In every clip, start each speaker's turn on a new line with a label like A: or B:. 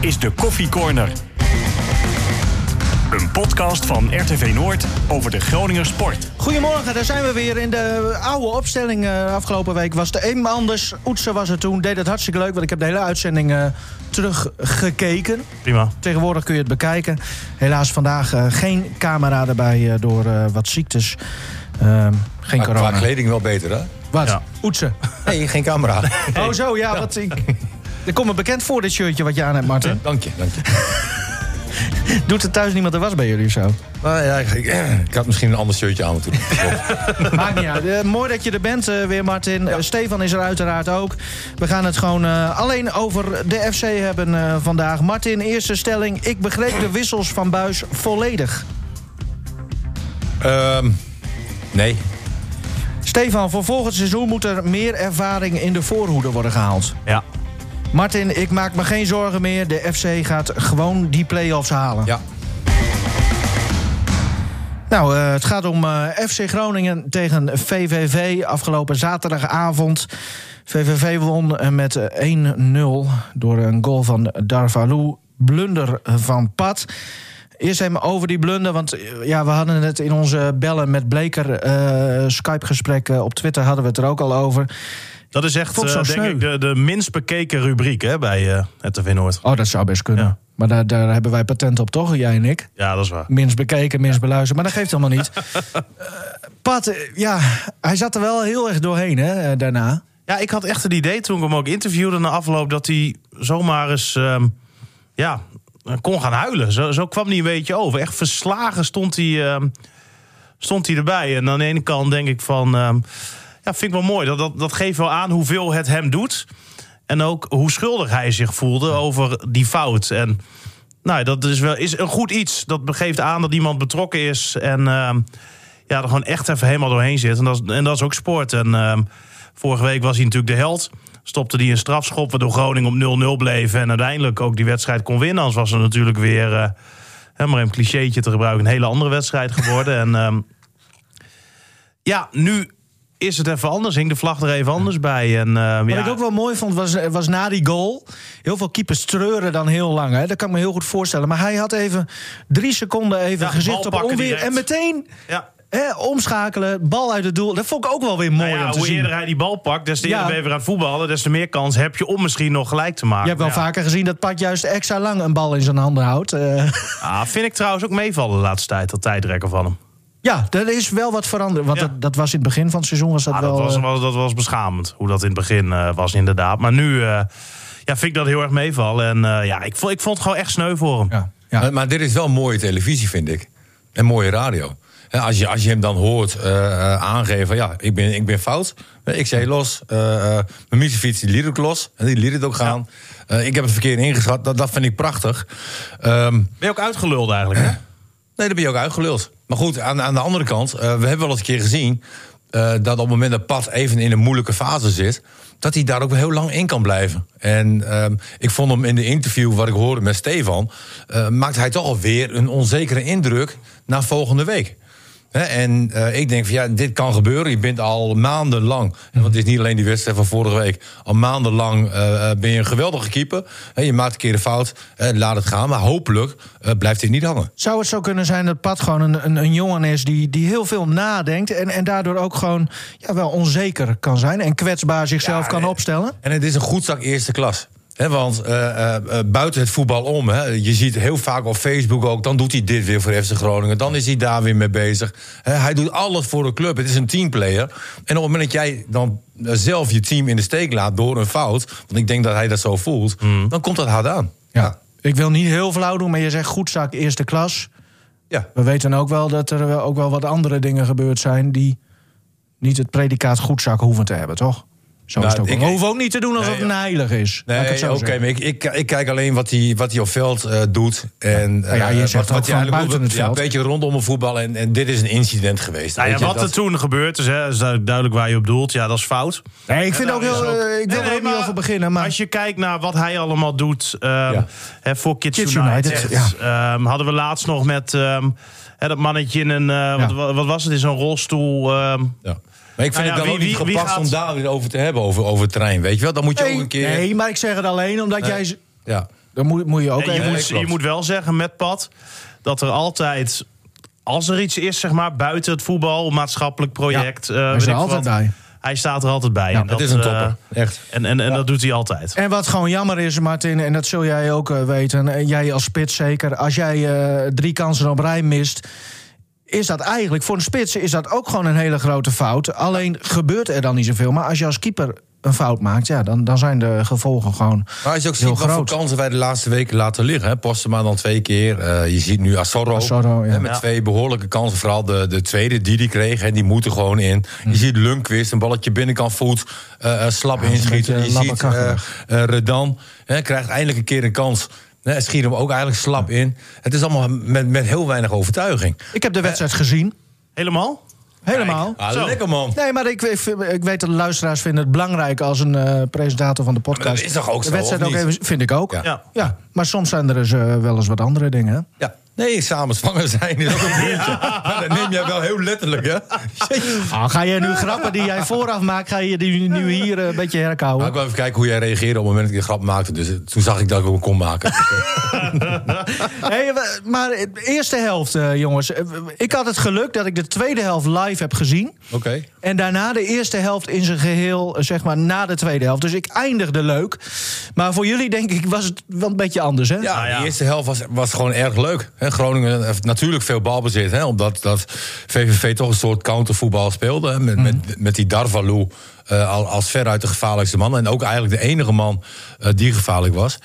A: is de Koffie Corner. Een podcast van RTV Noord over de Groninger sport.
B: Goedemorgen, daar zijn we weer in de oude opstelling. eh, afgelopen week was de een anders. Oetse was er toen, deed het hartstikke leuk, want ik heb de hele uitzending eh, teruggekeken.
A: Prima.
B: Tegenwoordig kun je het bekijken. Helaas vandaag eh, geen camera erbij eh, door eh, wat ziektes. Ehm, geen
C: Maar Qua
B: corona.
C: kleding wel beter, hè?
B: Wat?
A: Ja.
B: Oetse.
C: Nee, geen camera.
B: Oh zo, ja. Wat, ik, er komt me bekend voor, dit shirtje wat je aan hebt, Martin.
C: dank je, dank je.
B: Doet er thuis niemand er was bij jullie of zo?
C: Nou ja, ik, ik had misschien een ander shirtje aan moeten doen.
B: Maakt niet uit. Eh, mooi dat je er bent eh, weer, Martin. Eh, Stefan is er uiteraard ook. We gaan het gewoon eh, alleen over de FC hebben eh, vandaag. Martin, eerste stelling. Ik begreep de wissels van Buis volledig.
C: Ehm, nee,
B: Stefan, voor volgend seizoen moet er meer ervaring in de voorhoede worden gehaald.
A: Ja.
B: Martin, ik maak me geen zorgen meer. De FC gaat gewoon die play-offs halen.
C: ja.
B: Nou, eh, het gaat om eh, FC Groningen tegen VVV afgelopen zaterdagavond. VVV won eh, met eh, 1-0 door een goal van Darvalou. Blunder van Pat. Eerst even over die blunder, want eh, ja, we hadden het in onze bellen met Bleker... eh Skype-gesprek eh, op Twitter hadden we het er ook al over.
D: Dat is echt,
B: Vond ik zo
D: eh, denk
B: sneu.
D: ik, de, de minst bekeken rubriek hè, bij eh RTV Noord.
B: Oh, dat zou best kunnen.
D: Ja.
B: Maar daar, daar hebben wij patent op, toch? Jij en ik.
D: Ja, dat is waar.
B: minst bekeken, minst beluisterd. Maar dat geeft helemaal niet. Eh, Pat, eh, ja, hij zat er wel heel erg doorheen hè, eh, daarna.
D: Ja, ik had echt het idee toen ik hem ook interviewde na afloop... dat hij zomaar eens ehm, ja, kon gaan huilen. Zo, zo kwam hij een beetje over. Echt verslagen stond hij, ehm, stond hij erbij. En aan de ene kant denk ik van... ehm, ja, vind ik wel mooi. Dat, dat, dat geeft wel aan hoeveel het hem doet. En ook hoe schuldig hij zich voelde over die fout. En nou, dat is, wel, is een goed iets. Dat geeft aan dat iemand betrokken is. En ehm, ja, er gewoon echt even helemaal doorheen zit. En dat is, en dat is ook sport. En ehm, vorige week was hij natuurlijk de held. Stopte hij een strafschop, waardoor Groningen op 0-0 bleef. En uiteindelijk ook die wedstrijd kon winnen. Anders was er natuurlijk weer, eh, hè, maar een clichétje te gebruiken, een hele andere wedstrijd geworden. en ehm, ja, nu is het even anders. Hing de vlag er even anders bij. En, ehm,
B: Wat
D: ja,
B: ik ook wel mooi vond, was, eh, was na die goal... heel veel keepers treuren dan heel lang. Hè. Dat kan ik me heel goed voorstellen. Maar hij had even drie seconden even
D: Ja,
B: gezicht
D: bal
B: op
D: pakken
B: onweer.
D: direct.
B: En meteen
D: ja.
B: hè, omschakelen, bal uit het doel. Dat vond ik ook wel weer mooi
D: Nou ja,
B: om te
D: hoe
B: zien.
D: eerder hij die bal pakt, des te eerder
B: Ja.
D: ben je weer aan het voetballen. Des te meer kans heb je om misschien nog gelijk te maken.
B: Je hebt wel
D: Ja.
B: vaker gezien dat Pat juist extra lang een bal in zijn handen houdt. Eh,
D: Ah, vind ik trouwens ook meevallen de laatste tijd, dat tijdrekken van hem.
B: ja, er is wel wat veranderd. Want
D: Ja.
B: dat, dat was in het begin van het seizoen. Was dat,
D: Ah,
B: wel,
D: dat, was,
B: eh,
D: was, dat was beschamend, hoe dat in het begin eh, was inderdaad. Maar nu eh, ja, vind ik dat heel erg meevallen. En eh, ja, ik, vond- ik vond het gewoon echt sneu voor hem.
B: ja, ja.
C: Maar, maar dit is wel mooie televisie, vind ik. En mooie radio. Hè, als, je, als je hem dan hoort eh, eh, aangeven, ja, ik ben, ik ben fout. Eh, Ik zei los, eh, eh, mijn miezenfiets die liet ook los. En die liet het ook gaan. Eh, ik heb het verkeerd ingeschat, dat, dat vind ik prachtig. Ehm,
D: Ben je ook uitgeluld eigenlijk, hè?
C: Nee, daar ben je ook uitgeluld. Maar goed, aan, aan de andere kant, eh, we hebben wel eens een keer gezien... eh, dat op het moment dat Pat even in een moeilijke fase zit... dat hij daar ook wel heel lang in kan blijven. En ehm, ik vond hem in de interview wat ik hoorde met Stefan... eh, maakt hij toch alweer een onzekere indruk na volgende week. Hè, en eh, ik denk van ja, dit kan gebeuren. Je bent al maandenlang, hè, want het is niet alleen die wedstrijd van vorige week. Al maandenlang eh, eh, ben je een geweldige keeper. Hè, je maakt een keer een fout, eh, laat het gaan. Maar hopelijk eh, blijft dit niet hangen.
B: Zou het zo kunnen zijn dat Pat gewoon een, een, een jongen is die, die heel veel nadenkt en, en daardoor ook gewoon ja, wel onzeker kan zijn en kwetsbaar zichzelf
C: Ja,
B: kan
C: nee.
B: opstellen?
C: En het is een goed zak eerste klas. hè? want eh, eh, eh, buiten het voetbal om, hè, je ziet heel vaak op Facebook ook... dan doet hij dit weer voor FC Groningen, dan is hij daar weer mee bezig. Hè, hij doet alles voor de club, het is een teamplayer. En op het moment dat jij dan eh, zelf je team in de steek laat door een fout... want ik denk dat hij dat zo voelt,
B: Hmm.
C: dan komt dat hard aan. Ja.
B: Ik wil niet heel flauw doen, maar je zegt goed zaak eerste klas.
C: ja.
B: We weten ook wel dat er wel- ook wel wat andere dingen gebeurd zijn die niet het predicaat goed zak hoeven te hebben, toch? Zo
C: Nou,
B: is het ook.
C: ik-
B: wel. We hoeven ook niet te doen alsof
C: Nee,
B: het een heilig is. Laat ik het
C: Nee,
B: zo
C: oké,
B: zeggen.
C: maar ik, ik, ik kijk alleen wat hij wat hij op veld eh, doet. En,
B: Nou ja, je
C: eh,
B: zegt ook
C: hij
B: van
C: eigenlijk
B: buiten het
C: doet. Ja,
B: veld.
C: een beetje rondom het voetbal en, en dit is een incident geweest.
D: Nou ja,
C: Weet je,
D: wat
C: dat-
D: er toen gebeurd is, hè, is du- duidelijk waar je op doelt. Ja, dat is fout.
B: Nee, ik, vind
D: En
B: ook
D: daar
B: heel,
D: is
B: eh, ik wil
D: Nee,
B: er
D: nee,
B: ook niet
D: maar
B: over beginnen, maar
D: Als je kijkt naar wat hij allemaal doet ehm, hè, voor Kids,
B: Kids
D: United.
B: United,
D: ehm, hadden we laatst nog met ehm, hè, dat mannetje in een... eh, wat- wat, wat was het? In zo'n rolstoel... ehm,
C: Ja. Maar ik vind
D: Nou ja,
C: het dan
D: wie-
C: ook niet
D: wie- wie
C: gepast om
D: gaat-
C: daar weer over te hebben, over, over het terrein. Weet je wel, dan moet je ook
B: nee,
C: een keer...
B: nee, maar ik zeg het alleen omdat
C: Nee.
B: jij z-
C: Ja.
B: Dat moet, moet je ook
D: En je,
B: even...
D: moet, je moet wel zeggen met Pat dat er altijd, als er iets is, zeg maar, buiten het voetbal, maatschappelijk project. eh,
B: hij
D: weet
B: is er
D: ik
B: altijd
D: wat,
B: bij.
D: Hij staat er altijd bij. en
C: Het is een
D: eh,
C: topper, echt.
D: en en, en dat doet hij altijd.
B: En wat gewoon jammer is, Martin, en dat zul jij ook eh, weten, en jij als spits zeker, als jij eh, drie kansen op rij mist, is dat eigenlijk voor een spits is dat ook gewoon een hele grote fout. Alleen gebeurt er dan niet zoveel. Maar als je als keeper een fout maakt, ja, dan, dan zijn de gevolgen gewoon.
C: Maar als je ook ziet
B: Heel
C: wat voor
B: groot.
C: kansen wij de laatste weken laten liggen. Hè? Postema dan twee keer. eh, je ziet nu Asoro.
B: Asoro, ja.
C: hè, met
D: Ja.
C: twee behoorlijke kansen. Vooral de, de tweede die die kreeg. Hè, die moeten gewoon in.
B: Hmm.
C: Je ziet Lundqvist, een balletje binnenkant voet. eh, eh, slap
B: is een
C: inschieten. Je
B: beetje
C: ziet eh
B: labbekakkerig.
C: eh, Redan. Hè, krijgt eindelijk een keer een kans. Hè, en schiet hem ook eigenlijk slap in. Het is allemaal met, met heel weinig overtuiging.
B: Ik heb de wedstrijd gezien,
D: Helemaal?
B: helemaal.
C: Ah,
D: Zo.
C: lekker man.
B: Nee, maar ik, ik- ik weet dat de luisteraars vinden het belangrijk als een eh, presentator van de podcast.
C: Maar dat is toch ook
B: de
C: zo,
B: wedstrijd
C: of
B: ook
C: niet?
B: even, vind ik ook.
C: Ja.
D: Ja.
B: Ja, maar soms zijn er dus, eh, wel eens wat andere dingen. hè?
C: Ja. Nee, samen zwanger zijn is ook een dingetje. Maar dat neem jij wel heel letterlijk, hè? Jezus.
B: Ah, ga je nu grappen die jij vooraf maakt, ga je die nu hier eh, een beetje
C: Maar
B: herkauwen?
C: ik wil even kijken hoe jij reageerde op het moment dat ik de grap maakte. Dus eh, toen zag ik dat ik hem kon maken.
B: Hey, we- maar de eerste helft, eh, jongens. Eh, Ik had het geluk dat ik de tweede helft live heb gezien.
C: Oké.
B: En daarna de eerste helft in zijn geheel, eh, zeg maar, na de tweede helft. Dus ik eindigde leuk. Maar voor jullie, denk ik, was het wel een beetje anders, hè?
C: Ja,
D: Nou ja.
C: de eerste helft was, was gewoon erg leuk. Hè, Groningen heeft natuurlijk veel balbezit. Hè, omdat dat VVV toch een soort countervoetbal speelde. Hè, met, met, met die Darvalu eh, al- als veruit de gevaarlijkste man. En ook eigenlijk de enige man eh, die gevaarlijk was.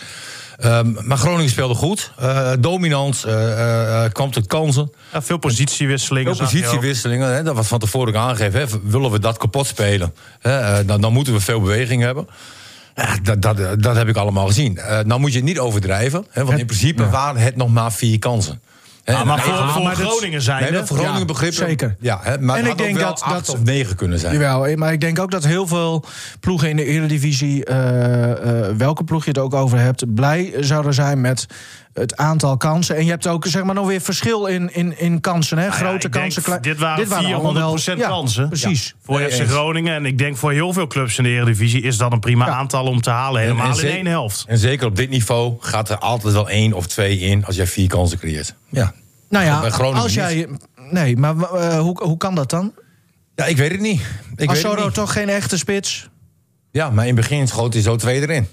C: Ehm, maar Groningen speelde goed. eh, dominant, eh, eh, kwam tot kansen.
D: Ja, veel positiewisselingen.
C: Veel
D: zag je ook.
C: positiewisselingen, hè, dat was van tevoren ook aangegeven. Hè, willen we dat kapot spelen, hè, eh, dan, dan moeten we veel beweging hebben. Ja, dat, dat, eh, dat heb ik allemaal gezien. Eh nou moet je het niet overdrijven, hè, want in principe waren het nog maar vier kansen. Hè,
D: Ah, maar
C: en-
D: voor, voor
B: maar dat-
D: Groningen zijn
C: nee,
D: hè?
C: maar voor Groningen
B: Ja,
C: begrippen.
B: zeker.
C: Ja, hè, maar
B: En
C: het
B: ik
C: had ook
B: denk
C: wel
B: dat-
C: acht
B: dat-
C: of negen kunnen zijn.
B: Jawel, eh, maar ik denk ook dat heel veel ploegen in de Eredivisie, eh, eh, welke ploeg je het ook over hebt, blij zouden zijn met het aantal kansen. En je hebt ook zeg maar nog weer verschil in, in, in kansen, hè?
D: Nou ja,
B: Grote
D: ik denk,
B: kansen. klein-
D: dit waren
B: allemaal wel-
D: 400%
B: ja,
D: kansen.
B: Precies.
D: Voor
C: Nee,
D: FC
C: eens.
D: Groningen en ik denk voor heel veel clubs in de Eredivisie is dat een prima aantal om te halen.
C: En- en
D: Helemaal in
C: zeker-
D: één helft.
C: En zeker op dit niveau gaat er altijd wel één of twee in als jij vier kansen creëert. Ja.
B: Nou ja,
C: Bij Groningen
B: als
C: niet.
B: jij. Nee, maar eh, hoe, hoe kan dat dan?
C: Ja, ik weet het niet. Ik weet het
B: Asoro
C: niet.
B: toch geen echte spits?
C: Ja, maar in het begin schoot hij zo twee erin.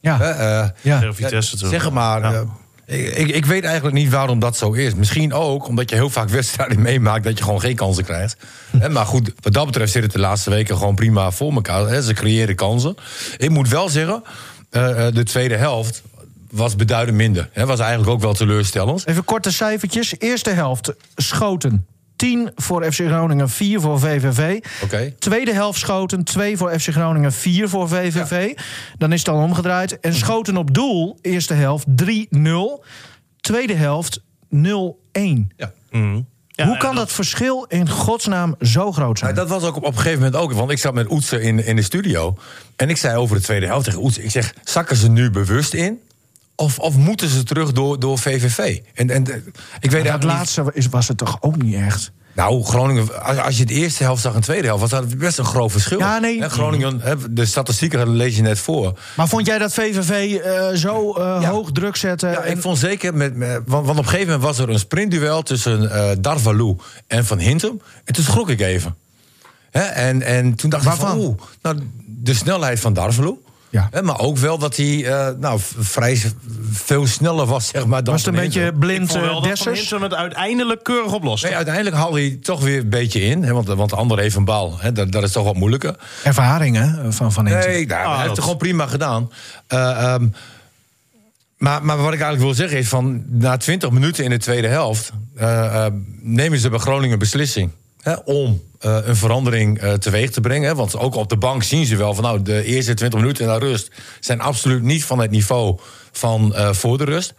B: Ja.
C: Hè, eh,
B: ja.
D: Heel Vitesse
C: Ja,
D: terug.
C: Zeg maar.
D: Ja.
C: eh, ik, ik, ik weet eigenlijk niet waarom dat zo is. Misschien ook omdat je heel vaak wedstrijden meemaakt dat je gewoon geen kansen krijgt. Hè, maar goed, wat dat betreft zit het de laatste weken gewoon prima voor elkaar. Hè, ze creëren kansen. Ik moet wel zeggen, eh, eh, de tweede helft was beduidend minder. Hè, was eigenlijk ook wel teleurstellend.
B: Even korte cijfertjes. Eerste helft schoten. 10 voor FC Groningen, 4 voor VVV.
C: Oké.
B: Tweede helft schoten, 2 voor FC Groningen, 4 voor VVV. Dan is het al omgedraaid. En schoten op doel, eerste helft 3-0. Tweede helft 0-1.
C: Ja.
D: Mm. Ja,
B: Hoe
D: en
B: kan dat verschil in godsnaam zo groot zijn?
C: Nou, dat was ook op, op een gegeven moment ook. Want ik zat met Oetsen in, in de studio. En ik zei over de tweede helft tegen Oetsen... ik zeg, zakken ze nu bewust in? Of, of moeten ze terug door, door VVV? En, en eh, ik weet
B: Maar dat
C: eigenlijk niet-
B: laatste is, was het toch ook niet echt?
C: Nou, Groningen, als, als je de eerste helft zag en de tweede helft, was dat best een groot verschil.
B: Ja, nee.
C: En Groningen, hè, de statistieken lees je net voor.
B: Maar vond jij dat VVV eh, zo eh,
C: Ja.
B: hoog druk zetten?
C: Ja,
B: en-
C: ik vond zeker, met, met- want, want op een gegeven moment was er een sprintduel tussen eh Darvalu en Van Hintem. En toen schrok ik even. Hè, en, en toen dacht ik
B: Waarvan?
C: van, oeh, nou, de snelheid van Darvalu.
B: Ja.
C: Hè, maar ook wel dat hij eh, nou, v- vrij s- veel sneller was, zeg maar, dan
B: was het een
C: Van
B: beetje
C: Hintem.
D: Ik
B: blind
D: vond
B: eh,
D: wel dat Van
B: Dessers?
D: Hintem het uiteindelijk keurig oplost.
C: Nee, uiteindelijk haalde hij toch weer een beetje in. Hè, want, want de ander heeft een bal. Hè, dat, dat is toch wat moeilijker.
B: Ervaringen eh, van Van Hintem.
C: Nee, nou,
D: Ah,
C: hij heeft
D: dat-
C: het gewoon prima gedaan. Eh, ehm, maar, maar wat ik eigenlijk wil zeggen is: van na 20 minuten in de tweede helft eh, eh, nemen ze bij Groningen een beslissing hè, om eh, een verandering eh, teweeg te brengen. Hè, want ook op de bank zien ze wel van nou, de eerste 20 minuten naar rust zijn absoluut niet van het niveau van eh, voor de rust.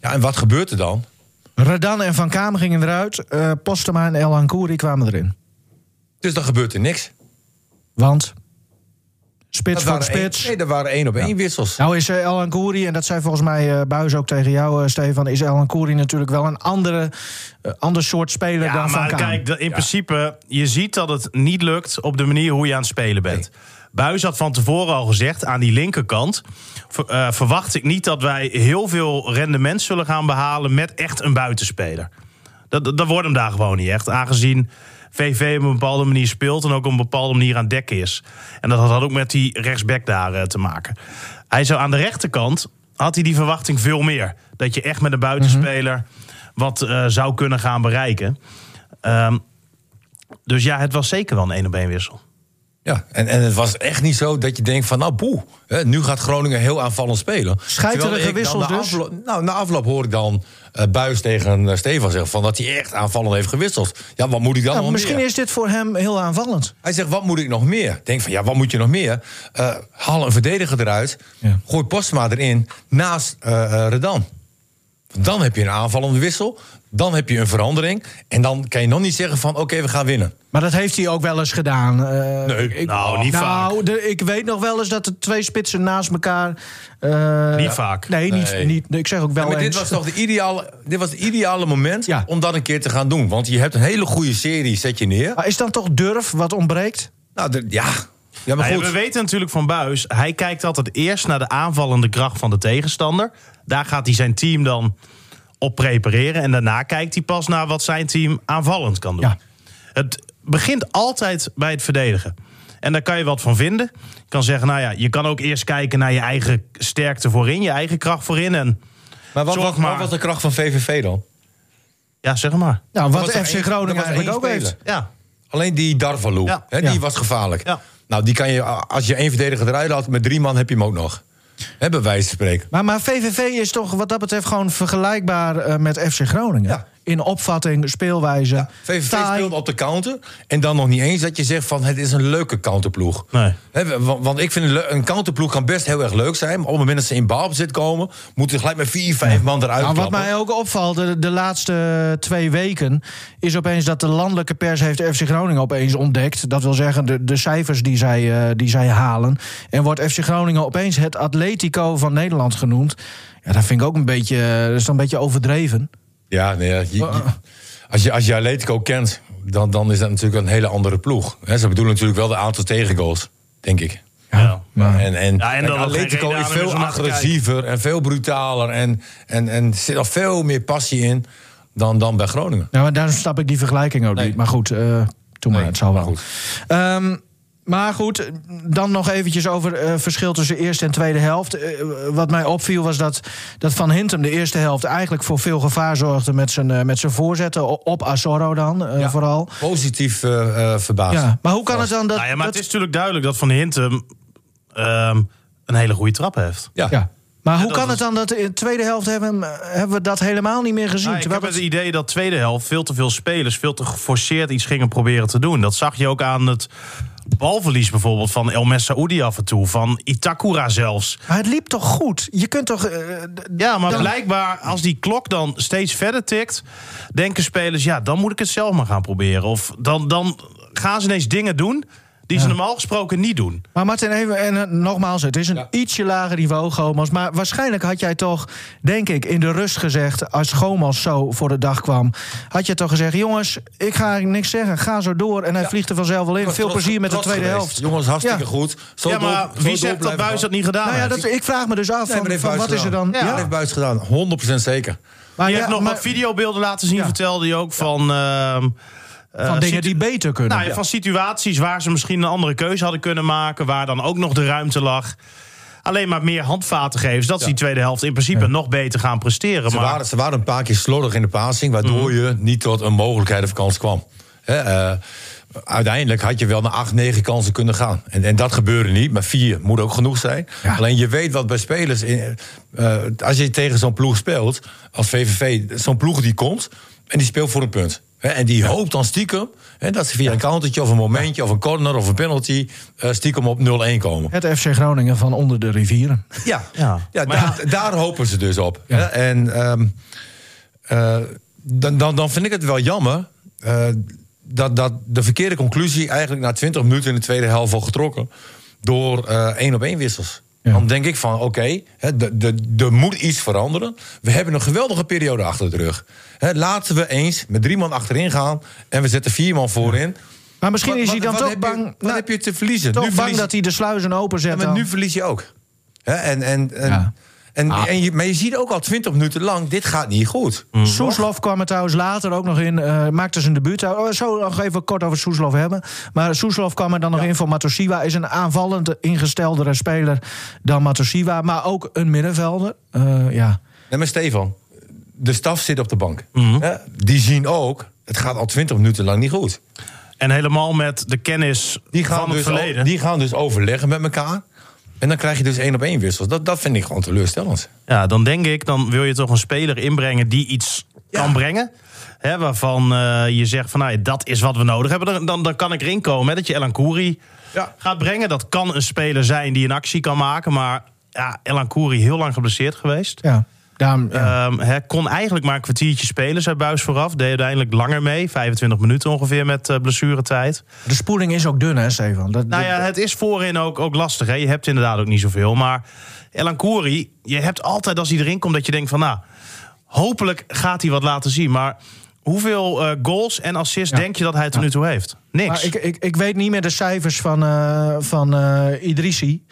C: Ja, en wat gebeurt er dan?
B: Redan en Van Kamer gingen eruit. eh, Postema en El Ankouri kwamen erin.
C: Dus dan gebeurt er niks.
B: Want spits voor
C: waren één-
B: spits.
C: nee, er waren één op één wissels.
B: Nou is eh, El Ankouri, en dat zei volgens mij eh, Buijs ook tegen jou, eh, Stefan... is El Ankouri natuurlijk wel een andere, eh, ander soort speler
D: Ja,
B: dan Van
D: maar
B: Kamer.
D: kijk, dat- in principe, je ziet dat het niet lukt op de manier hoe je aan het spelen bent. Buis had van tevoren al gezegd, aan die linkerkant... ver- eh, verwacht ik niet dat wij heel veel rendement zullen gaan behalen... met echt een buitenspeler. Dat, dat, dat wordt hem daar gewoon niet echt. Aangezien VV op een bepaalde manier speelt en ook op een bepaalde manier aan dek is. En dat had ook met die rechtsback daar eh, te maken. Hij zou aan de rechterkant, had hij die verwachting veel meer. Dat je echt met een buitenspeler
B: Mhm.
D: wat eh, zou kunnen gaan bereiken. Ehm, dus ja, het was zeker wel een één op één wissel.
C: Ja, en, en het was echt niet zo dat je denkt van, nou boe, hè, nu gaat Groningen heel aanvallend spelen.
B: Scheiterige
C: Terwijl ik dan
B: wissels
C: na
B: dus?
C: aflo- nou, na afloop hoor ik dan eh, Buis tegen eh, Stefan zeggen van dat hij echt aanvallend heeft gewisseld. Ja, wat moet ik dan
B: Nou,
C: nog
B: misschien
C: meer?
B: is dit voor hem heel aanvallend.
C: Hij zegt, wat moet ik nog meer? Ik Denk van, ja, wat moet je nog meer? Eh, haal een verdediger eruit,
B: Ja.
C: gooi Postma erin naast eh, eh, Redan. Dan heb je een aanvallende wissel, dan heb je een verandering... en dan kan je nog niet zeggen van, oké, we gaan winnen.
B: Maar dat heeft hij ook wel eens gedaan. Eh,
C: Nee,
D: nou, niet
B: nou, de- ik weet nog wel eens dat er twee spitsen naast elkaar... eh,
D: Niet vaak.
B: Nee,
C: Nee.
B: Niet, niet, ik zeg ook wel
C: Ja, maar
B: eens.
C: dit was toch de ideale, dit was het ideale moment
B: Ja.
C: om dat een keer te gaan doen. Want je hebt een hele goede serie, zet je neer.
B: Maar is dan toch durf wat ontbreekt?
C: Nou, de- ja. ja, maar
D: Nou ja,
C: goed.
D: we weten natuurlijk van Buis, hij kijkt altijd eerst naar de aanvallende kracht van de tegenstander. Daar gaat hij zijn team dan op prepareren. En daarna kijkt hij pas naar wat zijn team aanvallend kan doen.
B: Ja.
D: Het begint altijd bij het verdedigen. En daar kan je wat van vinden. Je kan zeggen, nou ja, je kan ook eerst kijken naar je eigen sterkte voorin, je eigen kracht voorin. En
C: Maar wat,
D: zorg
C: wat, wat
D: maar.
C: was de kracht van VVV dan?
D: ja, zeg maar.
B: Nou,
C: Er
B: wat
C: was er
B: FC
C: één- er
B: Groningen
C: was er
B: eigenlijk
C: één
B: ook
C: speler.
B: heeft.
D: Ja,
C: Alleen die Darvalu,
D: Ja.
C: hè, die
B: Ja.
C: was gevaarlijk.
D: Ja.
C: Nou, die kan je, als je één verdediger eruit haalt, met drie man heb je hem ook nog. Hè, bij wijze van spreken.
B: Maar, maar VVV is toch wat dat betreft gewoon vergelijkbaar eh, met FC Groningen.
C: Ja.
B: In opvatting, speelwijze.
C: VVV
B: taai.
C: speelt op de counter. En dan nog niet eens dat je zegt van het is een leuke counterploeg.
D: Nee.
C: Hè, wa- want, ik vind een le- een counterploeg kan best heel erg leuk zijn. Maar op het moment dat ze in balbezit komen... moeten ze gelijk met vier, vijf man eruit
B: Nou, wat
C: klappen.
B: mij ook opvalt de, de laatste twee weken... is opeens dat de landelijke pers heeft FC Groningen opeens ontdekt. Dat wil zeggen, de, de cijfers die zij, eh, die zij halen. En wordt FC Groningen opeens het Atletico van Nederland genoemd. Ja, dat vind ik ook een beetje, eh, dat is dan een beetje overdreven.
C: Ja, nee, ja, je-
B: Oh,
C: je- als, je, als je Atletico kent, dan, dan is dat natuurlijk een hele andere ploeg. Hè, ze bedoelen natuurlijk wel de aantal tegengoals, denk ik.
D: ja.
C: En, en,
D: Ja, en
C: en
D: dat het geen
C: Atletico
D: reden
C: is
D: aan is
C: veel
D: om naar te
C: agressiever en veel brutaler... en, en, en zit er veel meer passie in dan, dan bij Groningen.
B: Nou, maar daar snap ik die vergelijking ook
C: Nee.
B: niet. Maar goed, eh toen maar,
C: Nee,
B: het zal wel.
C: maar goed.
B: Ehm, maar goed, dan nog eventjes over eh verschil tussen eerste en tweede helft. Eh, wat mij opviel was dat, dat Van Hintem de eerste helft eigenlijk voor veel gevaar zorgde met zijn, eh, met zijn voorzetten. o- Op Azorro dan eh,
C: Ja.
B: vooral.
C: Positief eh, eh, verbaasd.
B: Ja, maar hoe kan het dan dat.
D: nou ja, maar
B: dat-
D: het is natuurlijk duidelijk dat Van Hintem ehm, een hele goede trap heeft.
B: ja. Maar hoe
D: dat
B: kan
D: was-
B: het dan dat in de tweede helft hebben, eh, hebben we dat helemaal niet meer gezien?
D: Nou, ik
B: Terwijl
D: heb het
B: dat-
D: idee dat tweede helft veel te veel spelers veel te geforceerd iets gingen proberen te doen. Dat zag je ook aan het balverlies bijvoorbeeld van El Messaoudi af en toe, van Itakura zelfs.
B: Maar het liep toch goed? Je kunt toch. eh, d-
D: Ja, maar
B: Dan-
D: blijkbaar als die klok dan steeds verder tikt, denken spelers ja, dan moet ik het zelf maar gaan proberen. Of dan, dan gaan ze ineens dingen doen die ze normaal gesproken niet doen.
B: Maar Martin, even, en eh, nogmaals, het is een
C: Ja.
B: ietsje lager niveau, Gomas. Maar waarschijnlijk had jij toch, denk ik, in de rust gezegd... als Gomas zo voor de dag kwam, had je toch gezegd... jongens, ik ga niks zeggen, ga zo door. En hij vliegt er vanzelf wel in. Veel
C: Trots-
B: plezier met de
C: trots
B: tweede
C: geweest.
B: helft.
C: Jongens, hartstikke
B: Ja.
C: goed. Zo
D: ja, maar
C: door- zo
D: wie
C: door
D: zegt dat
C: blijven
D: Buis
C: gaan.
D: dat niet gedaan
B: Nou ja,
D: heeft?
B: dat, ik vraag me dus af,
C: Nee, maar
B: van,
C: dat heeft
B: van
C: Buijs
B: wat is er dan...
C: gedaan. Ja, dat heeft Buijs gedaan. 100% zeker.
B: maar
D: die
B: ja,
D: heeft nog
B: maar-
D: wat videobeelden laten zien,
B: Ja.
D: vertelde hij ook van... ehm, eh,
B: van dingen
D: situ-
B: die beter kunnen.
D: Nou, ja, van situaties waar ze misschien een andere keuze hadden kunnen maken, waar dan ook nog de ruimte lag. Alleen maar meer handvaten geven, zodat ze die tweede helft in principe nog beter gaan presteren.
C: Ze
D: maar
C: waren, ze waren een paar keer slordig in de passing, waardoor je niet tot een mogelijkheid of kans kwam. Hè, eh, uiteindelijk had je wel naar acht, negen kansen kunnen gaan. En, en dat gebeurde niet, maar vier moet ook genoeg zijn. Alleen je weet wat bij spelers. In, eh, als je tegen zo'n ploeg speelt, als VVV, zo'n ploeg die komt en die speelt voor een punt. Hè, en die hoopt dan stiekem hè, dat ze via een countertje of een momentje of een corner of een penalty eh, stiekem op 0-1 komen.
B: Het FC Groningen van onder de rivieren.
C: Ja,
D: Ja.
C: ja.
D: Maar
C: daar, daar hopen ze dus op. hè. En ehm, eh, dan, dan, dan vind ik het wel jammer eh, dat, dat de verkeerde conclusie eigenlijk na 20 minuten in de tweede helft al getrokken door eh, één op één wissels.
B: Ja.
C: Dan denk ik van, oké, hè, de de- er moet iets veranderen. We hebben een geweldige periode achter de rug. Hè, laten we eens met drie man achterin gaan... en we zetten vier man voorin.
B: Maar misschien
C: Wat-
B: is hij
C: wat-
B: dan
C: wat
B: toch
C: heb je-
B: bang...
C: wat
B: nou,
C: heb je te verliezen?
B: Toch
C: Nu
B: bang
C: verlies-
B: dat hij de sluizen openzet.
C: Ja, maar
B: dan.
C: nu verlies je ook. Hè, en, en, en,
B: Ja. Ah.
C: en, en je, maar je ziet ook al 20 minuten lang, dit gaat niet goed.
B: Mm.
D: Mhm.
B: Soeslof kwam er trouwens later ook nog in. eh, maakte zijn debuut. Oh, zo nog even kort over Soeslof hebben. Maar Soeslof kwam er dan nog in voor Matosiwa. Is een aanvallend ingesteldere speler dan Matosiwa. Maar ook een middenvelder. Eh, ja.
C: Nee, maar Stefan, de staf zit op de bank.
B: Mm.
C: Hè, die zien ook, het gaat al 20 minuten lang niet goed.
D: En helemaal met de kennis
C: Die gaan,
D: van het
C: dus,
D: verleden.
C: o- die gaan dus overleggen met elkaar. En dan krijg je dus één op één wissels. Dat, dat vind ik gewoon teleurstellend.
D: Ja, dan denk ik, dan wil je toch een speler inbrengen die iets kan brengen. Hè, waarvan eh, je zegt van nou ja, dat is wat we nodig hebben. Dan, dan, dan kan ik erin komen hè, dat je Elan Kouri
C: Ja.
D: gaat brengen. Dat kan een speler zijn die een actie kan maken. Maar ja, Elan Kouri heel lang geblesseerd geweest.
B: ja. Daarom, ja.
D: Ehm, hè, kon eigenlijk maar een kwartiertje spelen, zei Buis vooraf. Deed uiteindelijk langer mee, 25 minuten ongeveer met eh, blessuretijd.
B: de spoeling is ook dun, hè, Stefan? Dat,
D: Nou
B: dat-
D: ja, het is voorin ook, ook lastig. Hè? Je hebt inderdaad ook niet zoveel. Maar Elan Kouri, je hebt altijd als hij erin komt dat je denkt van... nou, hopelijk gaat hij wat laten zien. Maar hoeveel eh, goals en assists
B: Ja.
D: denk je dat hij tot nu toe heeft? Niks.
B: Maar ik, ik, ik weet niet meer de cijfers van, eh, van eh, Idrissi.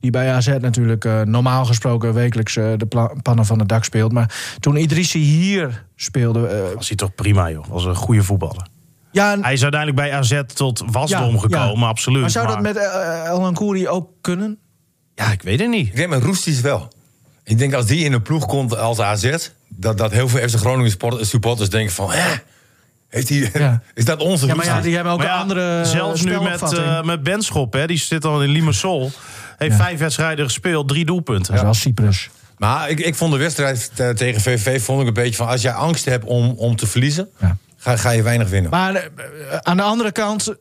B: Die bij AZ natuurlijk eh, normaal gesproken wekelijks eh, de pla- pannen van het dak speelt. Maar toen Idrissi hier speelde... eh,
D: Was hij toch prima, joh. Was een goede voetballer.
B: ja,
D: Hij is uiteindelijk bij AZ tot wasdom gekomen,
B: ja.
D: absoluut.
B: Maar zou dat met eh, eh, El Ancuri ook kunnen?
D: Ja, ik weet het niet.
C: Ik denk met Roesties wel. Ik denk als die in een ploeg komt als AZ... dat, dat heel veel FC Groningen sport- supporters denken van... Hè, heeft hij
B: Ja.
C: is dat onze
B: Ja, maar ja,
C: Roesties?
B: die hebben ook
D: Maar ja,
B: een andere
D: Zelfs nu met,
B: spelopvatting.
D: eh met Benschop, hè, die zit al in Limassol. Heeft vijf wedstrijden gespeeld, drie doelpunten.
B: Dat is wel Cyprus.
C: Maar ik, ik vond de wedstrijd eh, tegen VVV vond ik een beetje van... als jij angst hebt om, om te verliezen,
B: Ja.
C: ga, ga je weinig winnen.
B: Maar eh, eh, aan de andere kant...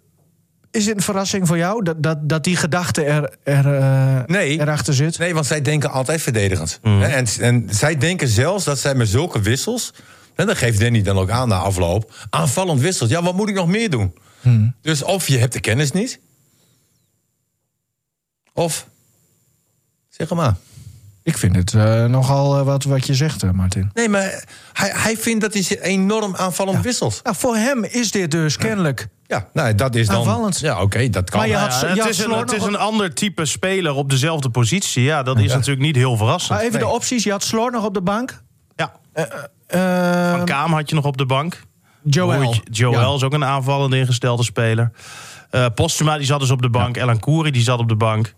B: Is dit een verrassing voor jou? Dat, dat, dat die gedachte er, er, eh,
C: Nee.
B: erachter zit?
C: Nee, want zij denken altijd verdedigend.
B: Mhm.
C: Hè, En, en zij denken zelfs dat zij met zulke wissels... en dat geeft Danny dan ook aan na afloop... aanvallend wisselt. Ja, wat moet ik nog meer doen?
B: Mhm.
C: Dus of je hebt de kennis niet... of... zeg het maar.
B: Ik vind het eh, nogal eh, wat, wat je zegt, eh, Martin.
C: Nee, maar hij, hij vindt dat hij zich enorm aanvallend wisselt.
B: Nou, voor hem is dit dus kennelijk.
C: Ja, nou, dat is dan...
B: Aanvallend.
C: Ja, oké, dat kan.
B: Maar je
C: Ja,
B: had-
D: Ja,
B: je
D: het is, een,
B: Slor
D: het
B: nog
D: is
B: op-
D: een ander type speler op dezelfde positie. Ja, dat is natuurlijk niet heel
B: Maar
D: verrassend.
B: even de
C: Nee.
B: opties. Je had Slor nog op de bank.
D: Ja.
B: Eh,
D: Van Kaam had je nog op de bank.
B: Joel.
D: Broertje- Joel
B: Ja.
D: is ook een aanvallende ingestelde speler. Eh Postuma die zat dus op de bank. Elan Kouri die zat op de bank.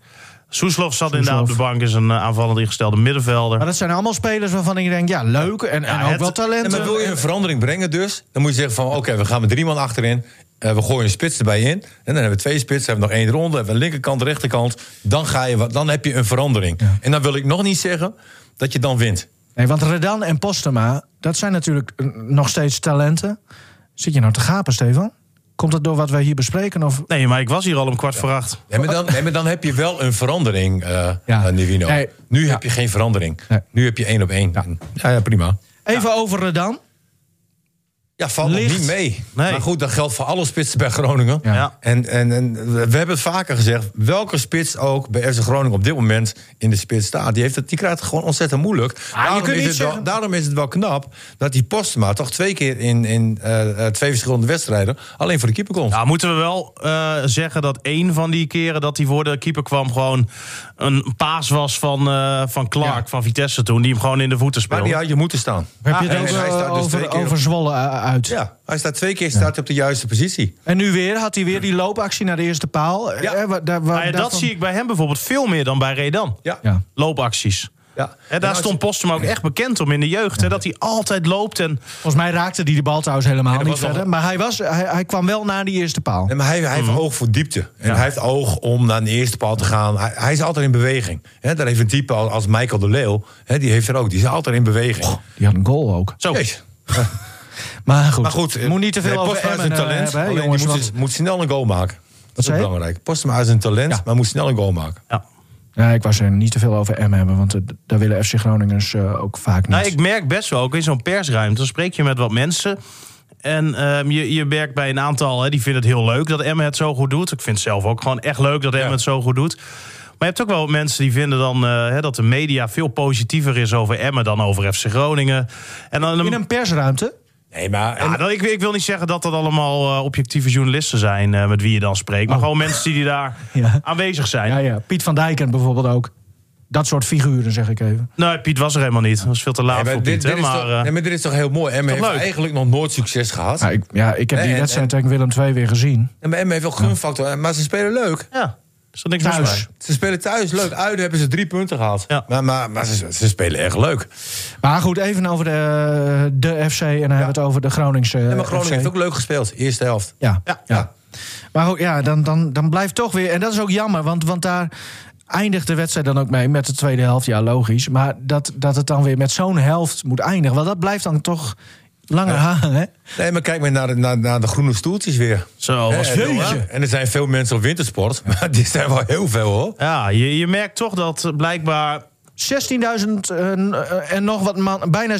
D: Soeslof zat inderdaad op de bank. Is een eh, aanvallend ingestelde middenvelder.
B: Maar dat zijn allemaal spelers waarvan ik denk, ja, leuk en, en
D: Ja,
B: ook
D: het-
B: wel talent.
C: Nee, maar wil je een verandering brengen dus, dan moet je zeggen van... oké, we gaan met drie man achterin, eh, we gooien een spits erbij in... en dan hebben we twee spitsen, hebben we nog één ronde... hebben we linkerkant, rechterkant, dan, ga je, wat- dan heb je een verandering. En dan wil ik nog niet zeggen dat je dan wint.
B: Nee, want Redan en Postema, dat zijn natuurlijk eh, nog steeds talenten. Zit je nou te gapen, Stefan? Komt dat door wat wij hier bespreken? Of...
D: Nee, maar ik was hier al om kwart voor acht.
C: Nee, maar dan, nee, maar dan heb je wel een verandering, eh
B: Ja.
C: eh, Nivino.
B: Nee.
C: Nu heb je geen verandering.
B: Nee.
C: Nu heb je één op één. Ja, ja, prima.
B: Even over Redan.
C: Ja, valt nog
B: Licht.
C: niet mee.
D: Nee.
C: Maar goed, dat geldt voor alle spitsen bij Groningen.
B: Ja.
D: Ja.
C: En, en, en we hebben het vaker gezegd, welke spits ook bij FC Groningen op dit moment in de spits staat, die, heeft het, die krijgt het gewoon ontzettend moeilijk. daarom,
B: Ah, kunt
C: is
B: niet
C: het wel,
B: zeggen-
C: daarom is het wel knap dat die Postma toch twee keer in, in eh, eh, twee verschillende wedstrijden alleen voor de keeper komt.
D: Nou, moeten we wel eh, zeggen dat één van die keren dat hij voor de keeper kwam... gewoon een paas was van, eh, van Clark, van Vitesse toen. Die hem gewoon in de voeten
C: maar
D: speelde.
C: die had je moeten staan.
B: Heb je
C: Ah,
B: het
C: en
B: ook
C: hij
B: eh,
C: staat dus twee
B: over,
C: keer op-
B: over Zwolle eh, uit?
C: Ja, hij staat twee keer staat hij op de juiste positie.
B: En nu weer, had hij weer die loopactie naar de eerste paal.
C: Ja.
B: Eh, wa- daar, wa-
D: Maar Nou ja, dat
B: daarvan-
D: zie ik bij hem bijvoorbeeld veel meer dan bij Redan.
C: Ja.
B: Ja.
D: Loopacties.
C: Ja.
D: Hè,
C: En
D: daar
C: als-
D: stond Postuma ook echt bekend om in de jeugd. Hè, dat hij altijd loopt. En,
B: Volgens mij raakte hij de bal trouwens helemaal
C: dat
B: niet
C: was nog-
B: verder. Maar hij, was, hij, hij kwam wel naar die eerste paal.
C: Nee, maar hij, hij heeft
B: Mhm.
C: oog voor diepte. En hij heeft oog om naar de eerste paal te gaan. Hij, hij is altijd in beweging. Hè, daar heeft een type als, als Michael de Leeuw. hè, die heeft er ook. Die is altijd in beweging.
B: Die had een goal ook.
D: zo.
C: Jezus.
B: Maar goed,
C: Maar goed, eh,
B: Oh. moet niet te veel
C: nee,
B: over
C: Postma is
B: Emmen,
C: een
B: eh,
C: talent.
B: hebben, hè,
C: alleen
B: jongens.
C: die moet,
B: want-
C: moet snel een goal maken. Dat is
B: zei
C: ook
B: je?
C: belangrijk. Postma is een talent, maar moet snel een goal maken.
D: Ja.
B: Ja, ik was er niet te veel over M hebben, want eh, d- daar willen FC Groningers eh, ook vaak niet.
D: Nou, ik merk best wel ook in zo'n persruimte. Dan spreek je met wat mensen. En ehm, je, je merkt bij een aantal, hè, die vinden het heel leuk dat Emma het zo goed doet. Ik vind het zelf ook gewoon echt leuk dat Emma het zo goed doet. Maar je hebt ook wel mensen die vinden dan eh, hè, dat de media veel positiever is over Emmen dan over FC Groningen. En dan
B: In een persruimte?
C: Nee, maar... en-
D: Ja, dat, ik, ik wil niet zeggen dat dat allemaal eh, objectieve journalisten zijn eh, met wie je dan spreekt. Maar gewoon mensen die daar
B: Oh. Ja.
D: aanwezig zijn.
B: Ja, ja. Piet van Dijken bijvoorbeeld ook. Dat soort figuren, zeg ik even.
D: Nee, Nou, Piet was er helemaal niet. Dat was veel te laat
C: Nee, maar
D: voor
C: dit,
D: Piet.
C: dit
D: hè,
C: is
D: maar,
C: toch,
D: eh,
C: nee, maar dit is toch heel mooi. Emme heeft
D: leuk?
C: eigenlijk nog nooit succes gehad.
B: Ja, ik, ja, ik heb
C: Nee,
B: die
C: en-
B: wedstrijd tegen Willem II weer gezien.
C: En bij Emme heeft wel gunfactor. eh, Maar ze spelen leuk.
D: ja, is dat niks
B: Thuis.
D: mis mee?
C: Ze spelen thuis leuk. Uit hebben ze drie punten gehaald.
D: Ja.
C: Maar, maar, maar ze, ze spelen echt leuk.
B: Maar goed, even over de, de FC en dan hebben we het over de Groningse
C: En maar Groningen
B: FC.
C: heeft ook leuk gespeeld. Eerste helft.
B: Ja, ja.
D: Ja.
B: Maar goed, ja, dan, dan, dan blijft toch weer... En dat is ook jammer, want, want daar eindigt de wedstrijd dan ook mee... met de tweede helft, ja, logisch. Maar dat, dat het dan weer met zo'n helft moet eindigen... want dat blijft dan toch langer hangen, hè?
C: Nee, maar kijk maar naar de, naar, naar de groene stoeltjes weer.
D: Zo,
C: Hè,
D: was
C: en-
D: Oh, veel, hè?
C: En er zijn veel mensen op wintersport. Maar die zijn wel heel veel, hoor.
D: Ja, je, je merkt toch dat eh, blijkbaar...
B: 16.000 eh, en nog wat man, bijna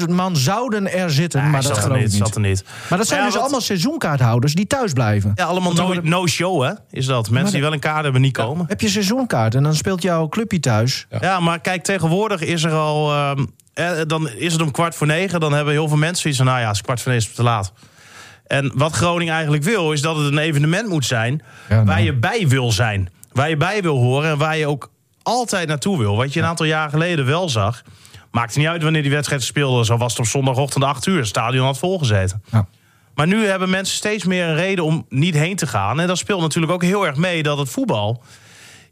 B: 17.000 man zouden er zitten, maar
D: Hij
B: dat
D: zat
B: geloof
D: er
B: ik
D: niet,
B: niet.
D: zat er niet.
B: Maar dat zijn
D: ja,
B: dus
D: wat-
B: allemaal seizoenkaarthouders die thuis blijven.
D: Ja, allemaal
B: Want dan
D: no-
B: worden-
D: no-show, hè? Is dat. Mensen die wel een kaart hebben, niet komen.
B: Heb je seizoenkaart en dan speelt jouw clubje thuis.
D: Ja. maar kijk, tegenwoordig is er al... ehm, eh, dan is het om kwart voor negen. Dan hebben heel veel mensen zoiets van... Nou ja, is kwart voor negen is te laat. En wat Groningen eigenlijk wil, is dat het een evenement moet zijn...
B: nou.
D: waar je bij wil zijn. Waar je bij wil horen en waar je ook altijd naartoe wil. Wat je een aantal jaar geleden wel zag... Maakt niet uit wanneer die wedstrijd speelde. Zo was het op zondagochtend 8 uur. Het stadion had volgezeten.
B: Ja.
D: Maar nu hebben mensen steeds meer een reden om niet heen te gaan. En dat speelt natuurlijk ook heel erg mee dat het voetbal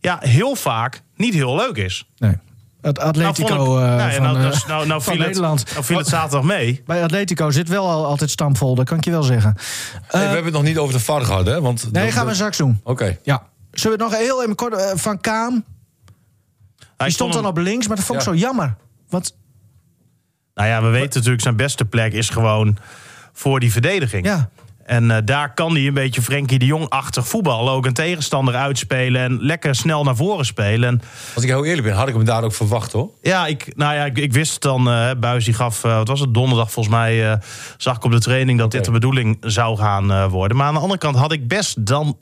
D: ja, heel vaak niet heel leuk is.
B: Nee. Het Atletico
D: vond ik-
B: eh,
D: nou, ja,
B: van,
D: nou,
B: eh,
D: dus- nou, nou
B: van
D: viel het,
B: Nederland.
D: nou viel het zaterdag mee.
B: Bij Atletico zit wel al altijd stampvol, dat kan ik je wel zeggen.
C: Hey, we hebben het nog niet over de VAR gehad, hè? Want
B: Nee,
C: dat-
B: gaan we straks doen.
C: Oké.
B: Ja. Zullen we het nog heel even kort... eh, van Kaam,
D: Hij
B: die stond dan
D: hem-
B: op links, maar dat vond ik
C: Ja.
B: zo jammer. Want
D: Nou ja, we weten natuurlijk, zijn beste plek is gewoon voor die verdediging.
B: Ja.
D: En eh, daar kan hij een beetje Frenkie de Jong-achtig voetbal ook een tegenstander uitspelen en lekker snel naar voren spelen. En
C: Als ik heel eerlijk ben, had ik hem daar ook verwacht, hoor.
D: Ja, ik, nou ja, ik, ik wist het dan. eh Buis die gaf, eh, wat was het, donderdag volgens mij... eh, zag ik op de training dat dit de bedoeling zou gaan eh, worden. Maar aan de andere kant had ik best dan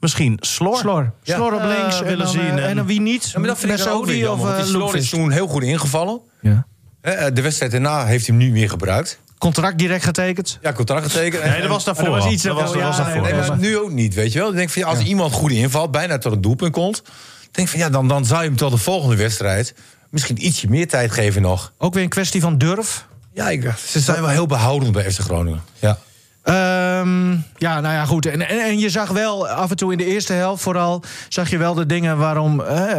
D: misschien Slor.
B: Slor.
D: Ja.
B: Slor op
D: Eh,
B: links en
D: willen
B: dan, eh,
D: zien.
B: en, dan wie niet?
C: Ja, maar dat vind ik dan ook
B: Bessaoudi
C: weer jammer,
B: of
C: want
B: eh,
C: die Slor is
B: Loekvist.
C: toen heel goed ingevallen.
B: Ja.
C: Hè, eh, De wedstrijd daarna heeft hij hem nu meer gebruikt.
B: Contract direct getekend.
C: Ja, contract getekend. Eh,
D: Nee, dat was daarvoor.
B: Maar dat was iets
D: dat was,
B: daarvoor,
D: dat was
B: ja,
D: daarvoor.
C: Nee, maar nu ook niet, weet je wel. Ik denk van, ja, als iemand goed invalt, bijna tot een doelpunt komt... denk van, ja, dan, dan zou je hem tot de volgende wedstrijd... misschien ietsje meer tijd geven nog.
B: Ook weer een kwestie van durf.
C: Ja, ik, ze zijn wel heel behoudend bij FC Groningen. Ja.
B: Ehm, ja, nou ja, goed. En, en, en je zag wel af en toe in de eerste helft vooral... zag je wel de dingen waarom eh,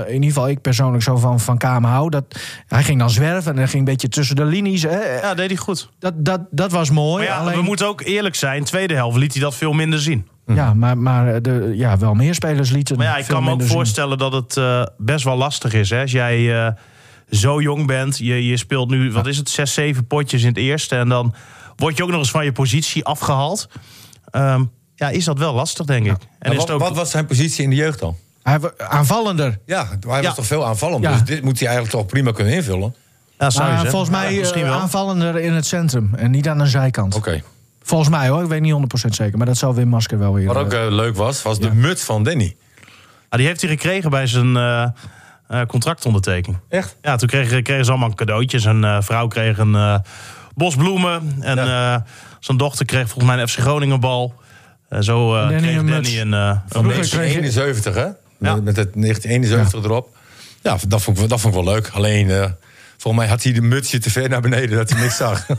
B: eh, in ieder geval ik persoonlijk zo van Van Kaam hou. Dat, hij ging dan zwerven en hij ging een beetje tussen de linies. Hè.
D: Ja, deed hij goed.
B: Dat, dat, dat was mooi.
D: Maar ja,
B: alleen,
D: we moeten ook eerlijk zijn. Tweede helft liet hij dat veel minder zien.
B: ja maar, maar de, ja, wel meer spelers lieten
D: Maar ja, ik
B: veel
D: kan me ook
B: minder zien.
D: voorstellen dat het eh, best wel lastig is. Hè? Als jij eh, zo jong bent, je, je speelt nu, wat is het, zes, zeven potjes in het eerste. En dan word je ook nog eens van je positie afgehaald. Ehm, ja, is dat wel lastig, denk ik. En
C: En
D: is
C: wat,
D: het ook,
C: wat was zijn positie in de jeugd dan?
B: Hij wa- aanvallender.
C: Ja, hij
D: Ja.
C: was toch veel aanvallend.
B: Ja.
C: Dus dit moet hij eigenlijk toch prima kunnen invullen.
D: Ja, zou je
B: Maar
D: zeggen.
B: volgens mij
D: Ja,
B: eh, aanvallender in het centrum en niet aan de zijkant.
C: Oké.
B: Volgens mij hoor, ik weet niet 100% zeker. Maar dat zal Wim Masker wel weer...
C: Wat ook
B: eh,
C: eh, leuk was, was de muts van Danny.
D: Ah, die heeft hij gekregen bij zijn eh, eh, contractondertekening.
C: Echt?
D: Ja, toen kregen, kregen ze allemaal cadeautjes. Een eh, vrouw kreeg een eh, bos bloemen. En eh, zijn dochter kreeg volgens mij een FC Groningen bal. En zo eh,
B: Danny
D: kreeg
B: een
D: Danny
B: muts.
D: een, eh, een
B: Vroeger
D: muts.
B: kreeg-
C: 1971, hè?
D: Ja.
C: Met, met het 1971 erop. Ja, dat vond, ik, dat vond ik wel leuk. Alleen, eh, volgens mij had hij de mutsje te ver naar beneden dat hij niks zag. Wat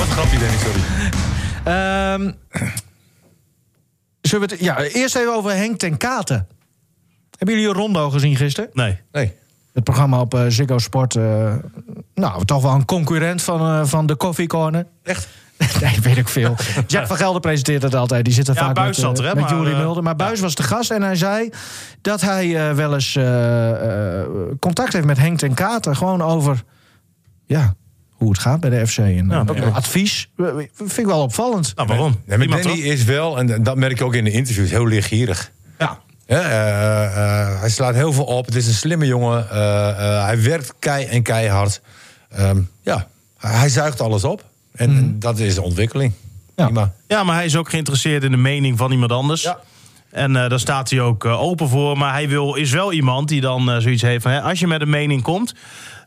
C: een grapje, Danny, sorry.
B: Ehm zullen we het, ja, eerst even over Henk ten Katen. Hebben jullie Rondo gezien gisteren?
D: Nee.
C: Nee.
B: Het programma op eh, Ziggo Sport. eh, nou, toch wel een concurrent van, eh, van de Coffee Corner.
C: Echt?
B: nee, weet ik veel. Jack van Gelder presenteert het altijd. Die zit er
D: Ja,
B: vaak
D: Buijs
B: met, eh,
D: zat er, hè,
B: met
D: maar,
B: Joeri
D: eh,
B: Mulder. Maar Buis was de gast en hij zei dat hij eh, wel eens eh, eh, contact heeft met Henk ten Katen. Gewoon over ja, hoe het gaat bij de FC. En
D: Ja,
B: eh,
D: oké.
B: advies. Eh, Vind ik wel opvallend.
D: Nou, waarom?
C: Nee, maar
D: Iemand
C: Danny
D: toch?
C: is wel, en dat merk je ook in de interviews, heel leergierig.
B: Ja.
C: Hè, eh, eh, hij slaat heel veel op. Het is een slimme jongen. Eh, eh, hij werkt kei en keihard. Ehm, ja, hij, hij zuigt alles op. En en dat is de ontwikkeling.
B: Ja.
C: Prima.
D: Ja, maar hij is ook geïnteresseerd in de mening van iemand anders.
C: Ja.
D: En eh, daar staat hij ook eh, open voor. Maar hij wil, is wel iemand die dan eh, zoiets heeft van... Hè, als je met een mening komt,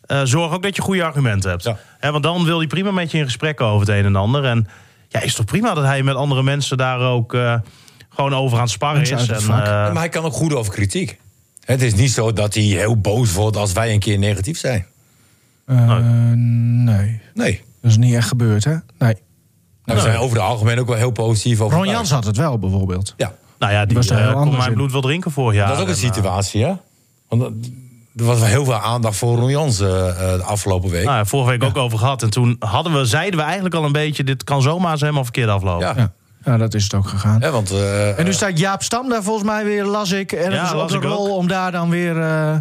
D: eh, eh, zorg ook dat je goede argumenten hebt.
C: Ja.
D: Hè, want dan wil hij prima met je in gesprek over het een en ander. En ja, is toch prima dat hij met andere mensen daar ook eh, gewoon over aan het sparren
B: Mensen
D: is.
B: uit
D: En,
B: het vak.
D: eh,
C: Maar hij kan ook goed over kritiek. Het is niet zo dat hij heel boos wordt als wij een keer negatief zijn.
D: Nou.
B: Eh, nee,
C: Nee.
B: dat is niet echt gebeurd, hè? Nee.
C: Nou, we zijn over het algemeen ook wel heel positief over.
B: Ron Jans had het wel, bijvoorbeeld.
C: Ja.
D: nou ja, die
B: was daar heel
D: eh, kon
B: anders
D: mijn
B: in.
D: bloed wel drinken vorig jaar.
C: Ah, Dat is ook een
D: En, eh,
C: situatie, hè? Want dat- er was wel heel veel aandacht voor Ron Jans eh, eh, de afgelopen week.
D: Nou, ja, vorige week ook over gehad. En toen hadden we, zeiden we eigenlijk al een beetje... dit kan zomaar eens helemaal verkeerd aflopen.
C: ja.
B: Ja. ja, dat is het ook gegaan.
C: Hè, want, eh,
B: En nu staat Jaap Stam daar volgens mij weer, las ik, ergens
D: Ja,
B: op
D: las
B: de
D: ik ook.
B: rol om daar dan weer eh,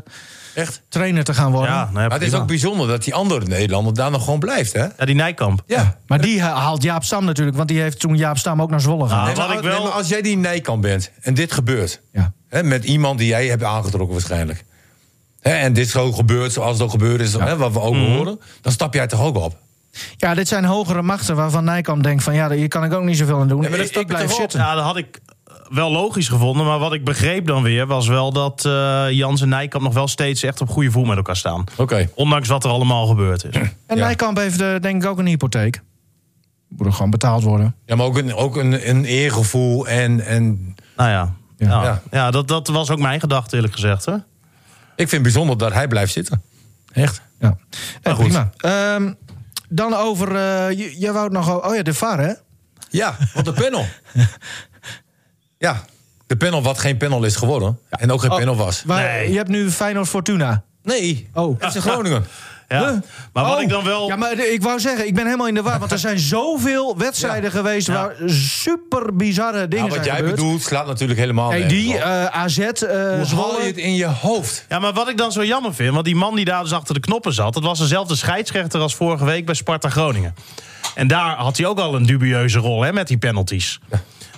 C: echt.
B: trainer te gaan worden.
D: Ja, nou ja,
C: Maar het is
D: prima.
C: ook bijzonder dat die andere Nederlander daar nog gewoon blijft, hè?
D: Ja, die Nijkamp.
C: Ja.
B: Maar die ha- haalt Jaap Stam natuurlijk, want die heeft toen Jaap Stam ook naar Zwolle gehaald.
C: Nee,
D: wat
C: maar,
D: ik
C: nee,
D: wel-
C: maar als jij die Nijkamp bent en dit gebeurt...
B: Ja.
C: Hè, met iemand die jij hebt aangetrokken waarschijnlijk... Hè, en dit zo gebeurt zoals het ook gebeurd is, hè, wat we ook
D: Mhm.
C: horen... dan stap jij toch ook op?
B: Ja, dit zijn hogere machten waarvan Nijkamp denkt van... ja, hier kan ik ook niet zoveel aan doen.
C: Nee, maar dat
B: ik,
C: staat
B: ik blijf
C: toch op?
B: zitten.
D: Ja, dat had ik eh, wel logisch gevonden. Maar wat ik begreep dan weer was wel dat eh, Jans en Nijkamp nog wel steeds echt op goede voet met elkaar staan.
C: Oké.
D: Ondanks wat er allemaal gebeurd is.
B: En
C: Ja.
B: Nijkamp heeft eh, denk ik ook een hypotheek. Moet er gewoon betaald worden.
C: Ja, maar ook een, ook een, een eergevoel en, en...
D: nou ja.
B: Ja.
D: Ja,
C: Ja.
D: ja. dat, dat was ook mijn gedachte eerlijk gezegd. Hè?
C: Ik vind het bijzonder dat hij blijft zitten. Echt.
B: Ja. Nee,
D: goed.
B: prima. Ehm, dan over... eh, j- jij wou het nog... o- Oh ja, de VAR, hè?
C: Ja, want de panel. ja, de panel wat geen panel is geworden. En ook geen
D: Oh.
C: panel was.
B: Waar-
D: Nee.
B: Je hebt nu Feyenoord Fortuna.
C: Nee,
B: Oh.
C: FC Groningen.
D: Ja. Maar wat
B: Oh.
D: ik dan wel...
B: Ja, maar de- ik wou zeggen, ik ben helemaal in de war. Want er zijn zoveel wedstrijden geweest
D: Ja.
B: waar super bizarre dingen
C: Nou,
B: zijn
C: wat jij
B: gebeurd.
C: bedoelt slaat natuurlijk helemaal
B: Hey,
C: nergens
B: die,
C: op.
B: eh, AZ, eh
C: Hoe haal je
B: Zwolle.
C: het in je hoofd?
D: Ja, maar wat ik dan zo jammer vind, want die man die daar dus achter de knoppen zat, dat was dezelfde scheidsrechter als vorige week bij Sparta Groningen. En daar had hij ook al een dubieuze rol hè, met die penalties.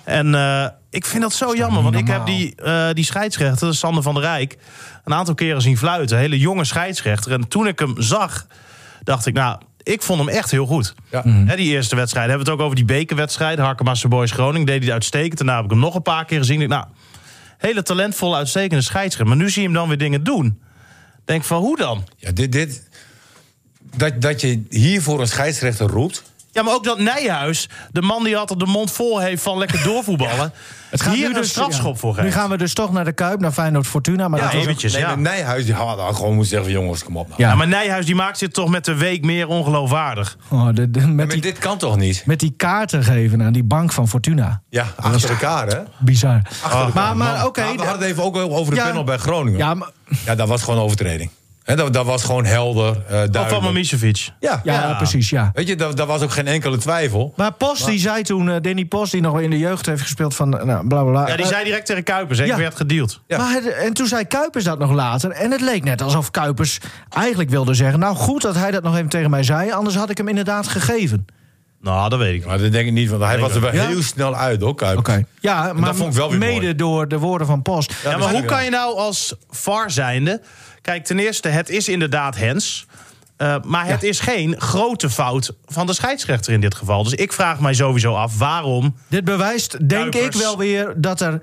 D: En eh, ik vind dat zo jammer, want ik heb die, eh, die scheidsrechter, Sander van der Rijk, een aantal keren zien fluiten. Een hele jonge scheidsrechter. En toen ik hem zag, dacht ik, nou, ik vond hem echt heel goed.
C: Ja.
D: Hè, die eerste wedstrijd. Hebben we het ook over die bekerwedstrijd, Harkemasse Boys Groningen, deed hij uitstekend. Daarna heb ik hem nog een paar keer gezien. Ik dacht, nou, hele talentvolle, uitstekende scheidsrechter. Maar nu zie je hem dan weer dingen doen. Denk van, hoe dan?
C: Ja, dit, dit, dat, dat je hiervoor een scheidsrechter roept.
D: Ja, maar ook dat Nijhuis, de man die altijd de mond vol heeft van lekker doorvoetballen... hier een strafschop
B: dus- ja.
D: voor geeft.
B: Nu gaan we dus toch naar de Kuip, naar Feyenoord Fortuna. Maar
D: Ja,
B: dat is ook-
D: eventjes,
C: nee,
D: ja.
C: maar Nijhuis die had dan gewoon moeten zeggen: van, jongens, kom op. Nou.
B: Ja.
D: Ja, maar Nijhuis die maakt zich toch met de week meer ongeloofwaardig.
B: Oh, de- de-
C: Ja,
B: met,
C: maar
B: die,
C: dit kan toch niet?
B: met die kaarten geven aan die bank van Fortuna.
C: Ja, achter elkaar, hè?
B: Bizar.
C: elkaar,
B: maar maar
C: man.
B: oké.
C: Maar we
B: de-
C: hadden het even ook over de
B: Ja.
C: panel bij Groningen.
B: ja,
C: Ja,
B: maar-
C: dat was gewoon overtreding. Hè, dat, dat was gewoon helder, eh,
D: Of van
C: duidelijk.
D: Mamicevic.
C: Ja,
B: ja,
D: Ja.
B: precies, ja.
C: Weet je, daar, daar was ook geen enkele twijfel.
B: Maar Post, die zei toen, eh, Danny Post, die nog in de jeugd heeft gespeeld van, eh, nou, bla bla bla.
D: Ja, die
B: Eh,
D: zei direct tegen Kuipers, hè, ik
B: ja.
D: werd gedeeld.
C: Ja.
B: Maar het- en toen zei Kuipers dat nog later. En het leek net alsof Kuipers eigenlijk wilde zeggen... nou goed dat hij dat nog even tegen mij zei... anders had ik hem inderdaad gegeven.
D: Nou, dat weet ik niet.
C: Maar dat denk ik niet, want hij was er wel
B: Ja.
C: heel snel uit, hoor, Kuip.
B: Ja, maar
C: dat vond ik wel weer
B: mede
C: mooi.
B: door de woorden van Post.
D: Ja,
C: dat
D: maar
C: is
D: hoe
C: wel.
D: kan je nou als VAR zijnde... Kijk, ten eerste, het is inderdaad Hens. eh, maar het is geen grote fout van de scheidsrechter in dit geval. Dus ik vraag mij sowieso af waarom...
B: Dit bewijst, denk
D: Kuipers.
B: ik wel weer, dat er...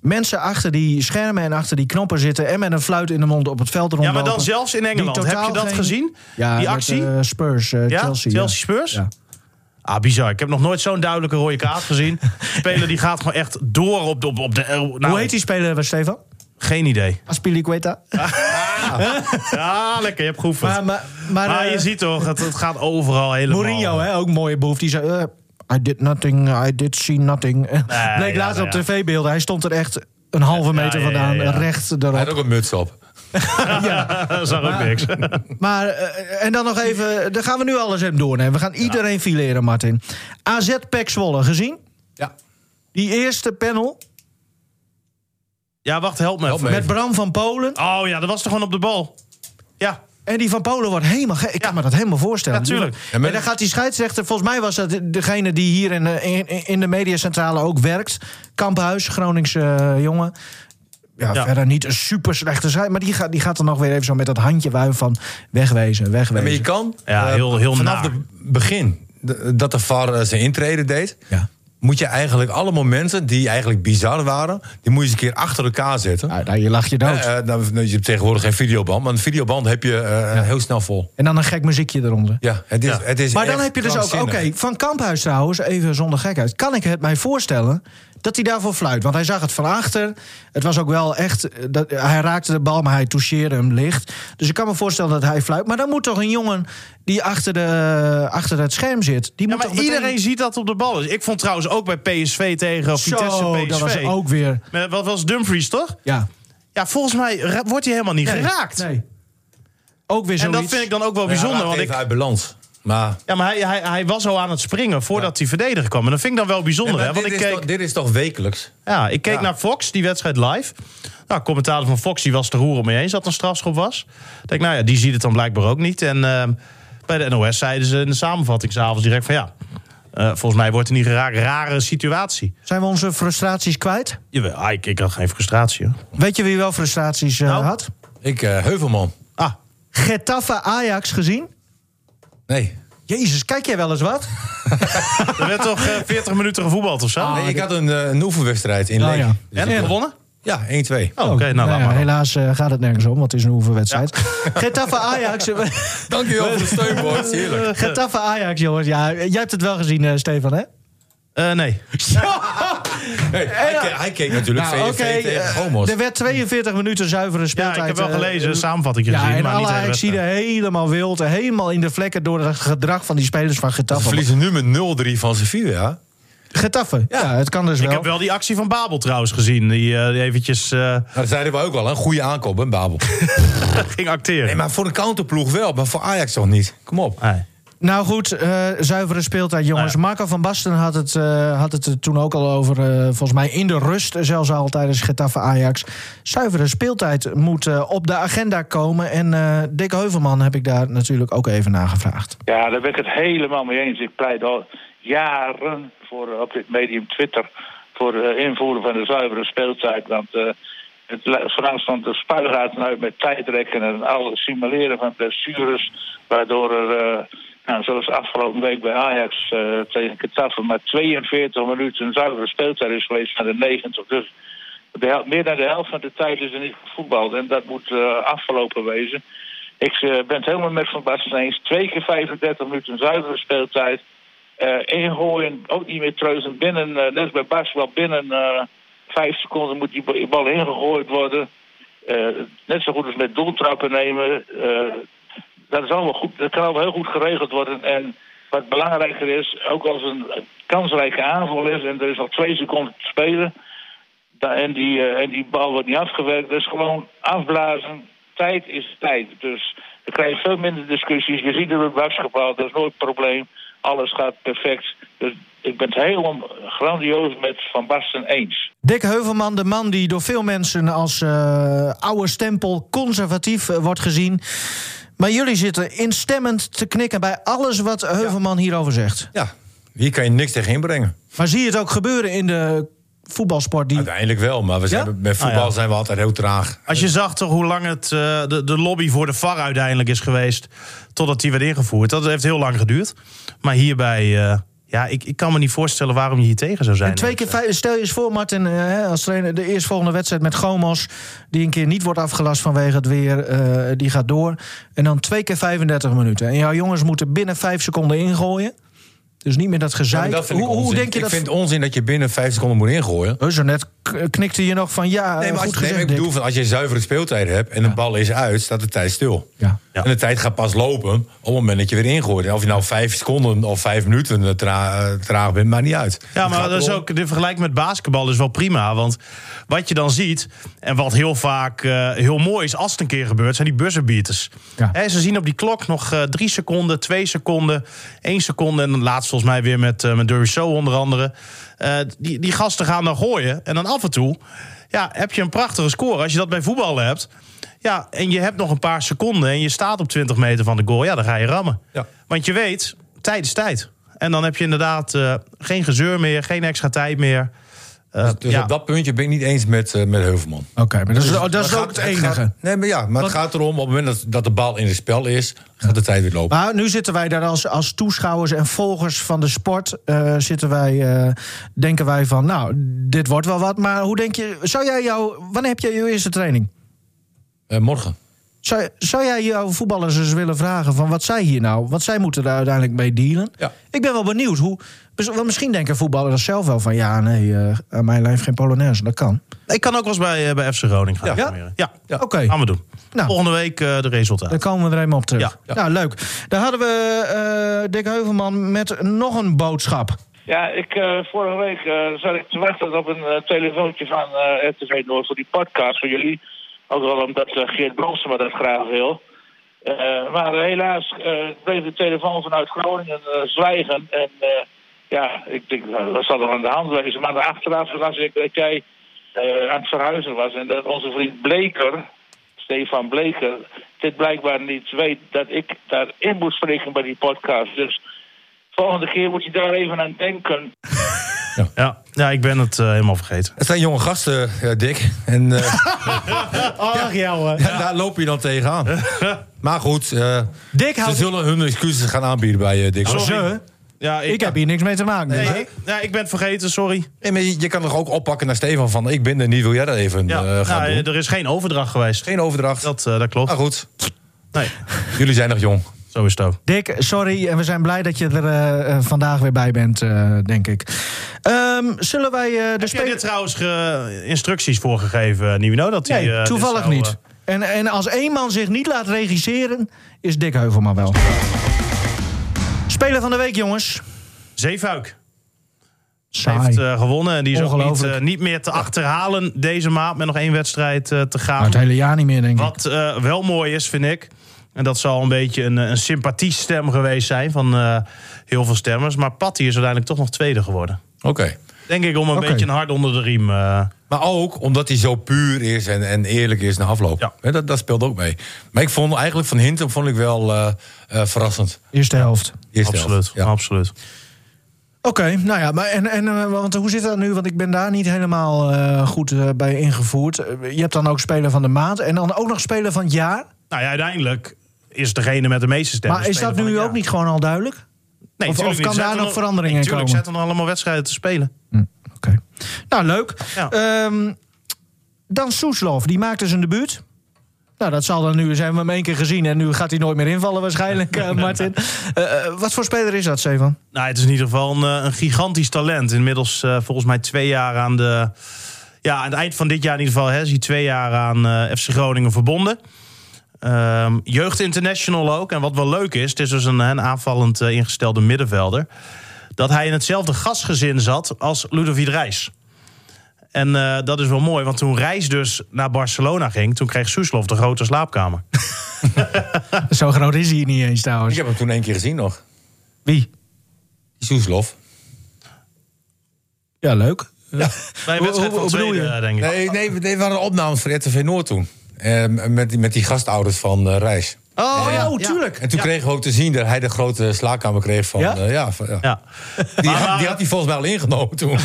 B: Mensen achter die schermen en achter die knoppen zitten... en met een fluit in de mond op het veld
D: Ja,
B: rondlopen.
D: maar dan zelfs in
B: die
D: Engeland. Heb
B: totaal
D: je dat
B: geen-
D: gezien?
B: Ja,
D: die
B: met,
D: actie?
B: eh, Spurs, eh,
D: ja?
B: Chelsea.
D: Chelsea,
B: ja.
D: Spurs?
B: Ja.
D: Ah, bizar. Ik heb nog nooit zo'n duidelijke rode kaart gezien. Speler die gaat gewoon echt door op de... Op, op de nou,
B: Hoe heet die speler, eh, Stefan?
D: Geen idee.
B: Aspilicueta?
D: Ja, lekker. Je hebt geoefend.
B: Maar,
D: Maar,
B: maar, maar, eh,
D: je ziet toch, het, het gaat overal helemaal...
B: Mourinho, hè, ook een mooie boef. Die zei, eh, I did nothing, I did see nothing. Bleek
D: ja,
B: later
D: nou
B: op
D: ja.
B: tv-beelden. Hij stond er echt een halve meter
D: ja, ja,
B: vandaan,
D: ja.
B: recht
C: Hij
B: erop.
C: had ook een muts op.
D: Dat zag ook niks.
B: Maar, eh, en dan nog even, daar gaan we nu alles even doornemen. We gaan iedereen fileren, Martin. AZ Pek Zwolle, gezien?
C: Ja.
B: Die eerste panel
D: Ja, wacht, help me
C: Help
D: even.
C: me.
B: met Bram van Polen.
D: Oh ja, dat was toch gewoon op de bal? Ja.
B: En die van Polen wordt helemaal gek. Ik kan me dat helemaal voorstellen.
D: Ja, tuurlijk.
B: En dan gaat die scheidsrechter... Volgens mij was dat degene die hier in, eh, in, in de mediacentrale ook werkt. Kamphuis, Groningse eh, jongen. Ja,
D: Ja.
B: verder niet een super slechte scheidsrechter. Maar die gaat, die gaat er nog weer even zo met dat handje wuif van... wegwezen,
C: Ja, maar
B: wegwezen.
C: je kan
D: Ja,
C: eh,
D: heel- heel
C: vanaf
D: naar.
C: het begin de- dat de VAR eh, zijn intrede deed,
B: Ja.
C: moet je eigenlijk alle momenten die eigenlijk bizar waren, die moet je eens een keer achter elkaar zetten.
B: Nou, nou, je lacht je dood.
C: Eh, eh, nou, nou, je hebt tegenwoordig geen videoband, maar een videoband heb je eh, heel snel vol.
B: En dan een gek muziekje eronder.
C: Ja, het is,
D: Ja.
C: Het is
B: Maar dan
C: echt
B: heb je dus ook, oké,
C: krankzinnig.
B: van Kamphuis trouwens, even zonder gekheid. Kan ik het mij voorstellen dat hij daarvoor fluit? Want hij zag het van achter. Het was ook wel echt, eh, dat, hij raakte de bal, maar hij toucheerde hem licht. Dus ik kan me voorstellen dat hij fluit. Maar dan moet toch een jongen die achter, de, achter het scherm zit. Die
D: Ja,
B: moet
D: maar
B: toch meteen-
D: iedereen ziet dat op de bal is. Ik vond trouwens ook bij PSV tegen Vitesse
B: Zo,
D: PSV.
B: dat was ook weer.
D: Met- Wat was Dumfries, toch?
B: Ja.
D: Ja, volgens mij ra- wordt hij helemaal niet geraakt.
B: Nee. Ook weer
D: En
B: zoiets.
D: dat vind ik dan ook wel
C: Ja, hij
D: bijzonder.
C: raakt
D: want
C: even
D: ik,
C: uit balans. Maar
D: ja, maar hij, hij, hij was al aan het springen voordat die verdediger kwam. En dat vind ik dan wel bijzonder.
C: Nee,
D: hè?
C: maar
D: Want
C: dit,
D: ik
C: is
D: keek,
C: toch, dit is toch wekelijks?
D: ja, ik keek
C: Ja.
D: naar Fox, die wedstrijd live. Nou, commentator van Fox die was te roeren mee eens dat er een strafschop was. Ik denk, nou ja, die ziet het dan blijkbaar ook niet. En ehm, bij de NOS zeiden ze in de samenvatting s'avonds direct van ja. eh, volgens mij wordt er niet geraakt. Rare situatie.
B: Zijn we onze frustraties kwijt?
D: Jawel, ah, ik, ik had geen frustratie. Hoor.
B: Weet je wie wel frustraties eh,
D: Nou?
B: had?
C: Ik, eh, Heuvelman.
D: Ah,
B: Getafe Ajax gezien?
C: Nee.
B: Jezus, kijk jij wel eens wat?
D: er werd toch eh, 40 minuten gevoetbald of zo?
C: nee ik had een, eh, een oefenwedstrijd in
B: Oh,
C: Leek.
B: ja.
C: Dus
D: Ah, En
C: ik-
D: gewonnen?
C: Ja, 1-2.
D: Oh, Oké, nou laat
B: ja,
D: maar. dan.
B: Helaas eh, gaat het nergens om, want het is een oefenwedstrijd. Getafe Ajax. eh,
C: Dankjewel voor de steun, boys. Heerlijk.
B: Getafe Ajax, jongens. Ja, jij hebt het wel gezien, eh, Stefan, hè?
D: Eh, nee.
C: Hey, hij, ke- hij keek natuurlijk
B: Nou,
C: VVV tegen
B: eh,
C: Homos.
B: er werd 42 minuten zuivere
D: Ja,
B: speeltijd.
D: ik heb wel
B: eh,
D: gelezen, een samenvatting gezien,
B: Ja, en
D: maar
B: alle
D: niet de hele
B: Ajaxiden
D: wedstrijd.
B: helemaal wild. en Helemaal in de vlekken door het gedrag van die spelers van
C: Ze
B: Getafe.
C: verliezen nu met 0-3 van Sevilla.
B: Getafe, ja. het kan dus
D: Ik
B: wel.
D: heb wel die actie van Babel trouwens gezien. Die eh, die eventjes eh,
C: Nou, dat zeiden we ook wel, een goede aankoop, een Babel.
D: ging acteren.
C: Nee, maar voor een counterploeg wel, maar voor Ajax toch niet. Kom op.
D: Nee.
B: Nou goed, eh, zuivere speeltijd, jongens.
D: Nou
B: Marco van Basten had het, eh, had het er toen ook al over. eh, volgens mij in de rust, zelfs al tijdens Getafe Ajax. Zuivere speeltijd moet eh, op de agenda komen. En eh, Dick Heuvelman heb ik daar natuurlijk ook even naar gevraagd.
E: Ja, daar ben ik het helemaal mee eens. Ik pleit al jaren voor, eh, op dit medium Twitter voor eh, invoeren van de zuivere speeltijd. Want eh het le- vooral stond de spuigaten uit met tijdrekken en al het simuleren van blessures. Waardoor er, eh, nou, zoals afgelopen week bij Ajax eh, tegen Getafe, maar 42 minuten zuivere speeltijd is geweest van de 90. Dus de hel- meer dan de helft van de tijd is er niet gevoetbald. En dat moet eh, afgelopen wezen. Ik eh, ben het helemaal met Van Basten eens. Twee keer 35 minuten zuivere speeltijd. Eh ingooien, ook niet meer treuzen. Binnen, eh, net als bij basketbal, binnen eh, vijf seconden moet die ba- bal ingegooid worden. Eh, net zo goed als met doeltrappen nemen. Eh, dat, is allemaal goed, dat kan allemaal heel goed geregeld worden. En wat belangrijker is, ook als een kansrijke aanval is... en er is nog twee seconden te spelen... Da- En die, eh, en die bal wordt niet afgewerkt. Dus gewoon afblazen. Tijd is tijd. Dus dan krijg je veel minder discussies. Je ziet het bij basketbal, dat is nooit een probleem. Alles gaat perfect. Dus ik ben het helemaal grandioos met Van Basten eens.
B: Dick Heuvelman, de man die door veel mensen als eh, oude stempel conservatief eh, wordt gezien. Maar jullie zitten instemmend te knikken bij alles wat Heuvelman hierover zegt.
C: Ja, hier kan je niks tegen inbrengen.
B: Maar zie je het ook gebeuren in de voetbalsport die
C: Uiteindelijk wel, maar we zijn,
B: Ja?
C: met voetbal
D: Ah, ja.
C: zijn we altijd heel traag.
D: Als je zag toch hoe lang het, eh, de, de lobby voor de VAR uiteindelijk is geweest... totdat die werd ingevoerd. Dat heeft heel lang geduurd. Maar hierbij... eh, ja, ik, ik kan me niet voorstellen waarom je hier tegen zou zijn.
B: En twee
C: eh,
B: keer vijf- stel je eens voor, Martin, eh, hè, als trainer, de eerstvolgende wedstrijd met Gomos, die een keer niet wordt afgelast vanwege het weer, eh, die gaat door. En dan twee keer 35 minuten. En jouw jongens moeten binnen vijf seconden ingooien. Dus niet meer dat
C: Ja,
B: gezeik.
C: maar dat vind ik
B: hoe, hoe
C: onzin.
B: denk je
C: ik
B: dat?
C: vind het onzin dat je binnen vijf seconden moet ingooien.
B: Oh, zo net k- knikte je nog van ja,
C: Nee, maar als,
B: goed
C: je- nee, maar
B: gezegd.
C: ik
B: Dick.
C: bedoel, van, als je zuivere speeltijd hebt en de bal is uit, staat de tijd stil.
B: Ja.
D: Ja.
C: En de tijd gaat pas lopen op het moment dat je weer ingooit. En of je nou vijf seconden of vijf minuten eh, tra- eh, traag bent, maakt niet uit.
D: Ja,
C: Het
D: maar
C: gaat
D: dat is
C: erom-
D: ook, de vergelijking met basketbal is wel prima. Want wat je dan ziet, en wat heel vaak eh, heel mooi is als het een keer gebeurt, zijn die buzzerbeaters.
B: Ja.
D: Hè, ze zien op die klok nog eh, drie seconden, twee seconden, één seconde. En dan laatst volgens mij weer met, eh met Derby So onder andere. Eh, die, die gasten gaan dan gooien. En dan af en toe ja, heb je een prachtige score. Als je dat bij voetbal hebt. Ja, en je hebt nog een paar seconden en je staat op 20 meter van de goal. Ja, dan ga je rammen.
C: Ja.
D: Want je weet, tijd is tijd. En dan heb je inderdaad eh, geen gezeur meer, geen extra tijd meer. Eh, Eh,
C: Dus, dus
D: ja.
C: op dat puntje ben ik niet eens met, eh, met Heuvelman.
B: Oké, maar dat
C: Dus
B: is, oh, dat is
C: Maar
B: ook
C: gaat-
B: het enige.
C: gaat- nee, maar ja, maar het gaat erom, op het moment dat, dat de bal in het spel is, gaat de tijd weer lopen.
B: Maar nu zitten wij daar als, als toeschouwers en volgers van de sport. eh, zitten wij, eh, denken wij van, nou, dit wordt wel wat. Maar hoe denk je, zou jij jouw, wanneer heb jij je eerste training?
C: Eh, morgen.
B: Zou, zou jij jouw voetballers eens willen vragen van wat zij hier nou, wat zij moeten daar uiteindelijk mee dealen?
C: Ja.
B: Ik ben wel benieuwd hoe. mis- Want misschien denken voetballers zelf wel van ja, nee, eh, aan mijn lijf geen Polonaise, dat kan.
D: Ik kan ook wel eens bij, eh, bij FC Groningen gaan.
C: Ja?
D: informeren. ja.
B: Oké,
D: gaan we doen.
B: Nou.
D: Volgende week eh, de resultaten.
B: daar komen we er even op terug.
D: Ja,
B: Ja, leuk. Daar hadden we eh, Dick Heuvelman met nog een boodschap.
E: Ja, ik, eh, vorige week eh, zat ik te wachten op een eh, telefoontje van eh, RTV Noord voor die podcast van jullie. Ook wel omdat eh, Geert Bronsema dat graag wil. Eh, maar helaas eh, bleef de telefoon vanuit Groningen eh, zwijgen. En eh, ja, ik denk, nou, dat zal er aan de hand wezen. Maar achteraf las ik dat jij eh, aan het verhuizen was. En dat onze vriend Bleker, Stefan Bleker, dit blijkbaar niet weet dat ik daarin moet spreken bij die podcast. Dus volgende keer moet je daar even aan denken.
D: Ja. ja, ik ben het eh, helemaal vergeten.
C: Het zijn jonge gasten, eh, Dick. En eh,
B: Ach, jou
C: daar loop je dan tegenaan. maar goed, eh,
B: Dick
C: ze
B: houdt.
C: zullen hun excuses gaan aanbieden bij eh, Dick.
D: Sorry.
B: Ze?
D: Ja, ik,
B: Ik heb hier niks mee te maken.
D: nee,
B: dus, hè?
D: ik, ja, ik ben het vergeten, sorry.
C: Nee, maar je, je kan toch ook oppakken naar Stefan van... ik ben er niet, wil jij dat even eh,
D: Ja.
C: gaan
D: nou,
C: doen?
D: eh, er is geen overdracht geweest.
C: Geen overdracht.
D: Dat, eh, dat klopt.
C: Maar Nou, goed,
D: Nee,
C: jullie zijn nog jong.
D: zo is het ook.
B: Dick, sorry. En we zijn blij dat je er eh, eh, vandaag weer bij bent, eh, denk ik. Ehm, zullen wij eh, de
D: Heb jij dit
B: spelers...
D: trouwens ge- instructies voor gegeven, Nivino? Dat hij,
B: Nee,
D: eh, dit
B: toevallig
D: zou, eh,
B: niet. En, en als één man zich niet laat regisseren, is Dick Heuvelman wel. Speler van de week, jongens.
D: Zeefuik heeft
B: Saai.
D: eh, gewonnen. En die is ook niet,
B: Ongelooflijk.
D: eh, niet meer te achterhalen deze maand. Met nog één wedstrijd eh, te gaan.
B: Nou, het hele jaar niet meer, denk ik.
D: Wat eh, wel mooi is, vind ik. En dat zal een beetje een, eh, een sympathiestem geweest zijn van eh, heel veel stemmers. Maar Patty is uiteindelijk toch nog tweede geworden.
C: Oké.
D: Denk ik om een
B: Oké.
D: beetje een hart onder de riem. eh.
C: Maar ook omdat hij zo puur is en, en eerlijk is na afloop.
D: Ja.
C: Hè, dat, dat speelt ook mee. Maar ik vond eigenlijk van Hintem vond ik wel eh, eh, verrassend.
B: Eerste helft.
C: Eerste
D: absoluut,
C: helft. Ja.
D: absoluut.
B: Oké, nou ja, maar en, en, eh, want hoe zit dat nu? Want ik ben daar niet helemaal eh, goed eh, bij ingevoerd. Eh, Je hebt dan ook speler van de maand en dan ook nog speler van het jaar.
D: Nou ja, uiteindelijk is degene met de meeste stemmen.
B: maar is
D: speler
B: dat
D: van
B: nu
D: het
B: ook
D: jaar.
B: niet gewoon al duidelijk?
D: Nee,
B: of-
D: tuurlijk
B: of
D: niet.
B: kan
D: Zet
B: daar
D: er
B: nog verandering
D: nee,
B: in
D: tuurlijk,
B: komen?
D: zetten er allemaal wedstrijden te spelen.
B: Oké. Nou, leuk.
D: Ja.
B: Ehm, dan Soeslof, die maakte zijn debuut. Nou, dat zal dan nu zijn we hem één keer gezien en nu gaat hij nooit meer invallen waarschijnlijk, eh, Martin. Eh, eh, wat voor speler is dat, Stefan?
D: Nou, het is in ieder geval een, eh, een gigantisch talent. Inmiddels eh, volgens mij twee jaar aan de... Ja, aan het eind van dit jaar in ieder geval hè, is hij twee jaar aan eh, FC Groningen verbonden. Ehm, jeugd International ook. En wat wel leuk is, het is dus een, een aanvallend eh, ingestelde middenvelder... dat hij in hetzelfde gastgezin zat als Ludovic Reis. En eh, dat is wel mooi, want toen Reis dus naar Barcelona ging... toen kreeg Soeslof de grote slaapkamer.
B: Zo groot is hij niet eens trouwens.
C: Ik heb hem toen één keer gezien nog.
B: Wie?
C: Soeslof.
B: Ja, leuk. Ja.
D: Bij een
B: Hoe-
D: wedstrijd
B: hoe-
D: van
B: hoe bedoel
D: tweede,
B: je?
D: eh, denk ik.
C: Nee, nee, nee, we waren opnames voor RTV Noord toen. Eh, met, die- met die gastouders van eh, Rijs.
B: Oh ja, oh,
D: ja.
B: tuurlijk.
C: En toen kregen we ook te zien dat hij de grote slaakkamer kreeg van...
B: Ja?
C: eh, ja, van- ja.
D: Ja.
C: Die,
D: Maar-
C: had, die had hij volgens mij al ingenomen toen.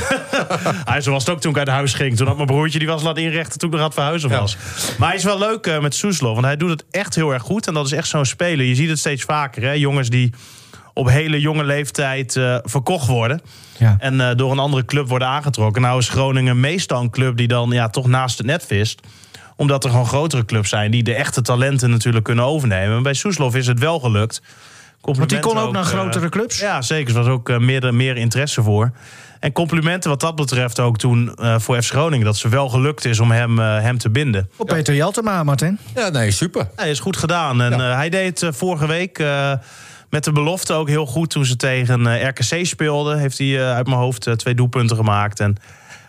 D: Hij zo was het ook toen ik uit huis ging. Toen had mijn broertje die was laten inrichten toen ik nog aan het verhuizen was. Maar hij is wel leuk eh, met Soeslof. Want hij doet het echt heel erg goed. En dat is echt zo'n speler. Je ziet het steeds vaker. Hè? Jongens die op hele jonge leeftijd eh, verkocht worden.
B: Ja.
D: En eh, door een andere club worden aangetrokken. Nou is Groningen meestal een club die dan ja, toch naast het net vist. Omdat er gewoon grotere clubs zijn die de echte talenten natuurlijk kunnen overnemen. Maar bij Soeslof is het wel gelukt.
B: Want die kon
D: Complimenten
B: ook naar
D: eh,
B: grotere clubs.
D: ja, zeker. Er was ook eh, meer, meer interesse voor. En complimenten wat dat betreft ook toen eh, voor FC Groningen. Dat ze wel gelukt is om hem, eh, hem te binden.
B: Op Peter Jeltema, Martin.
C: Ja, nee, super.
D: Hij is goed gedaan. En eh, hij deed het, eh, vorige week eh, met de belofte ook heel goed toen ze tegen eh, RKC speelden. Heeft hij eh, uit mijn hoofd eh, twee doelpunten gemaakt. En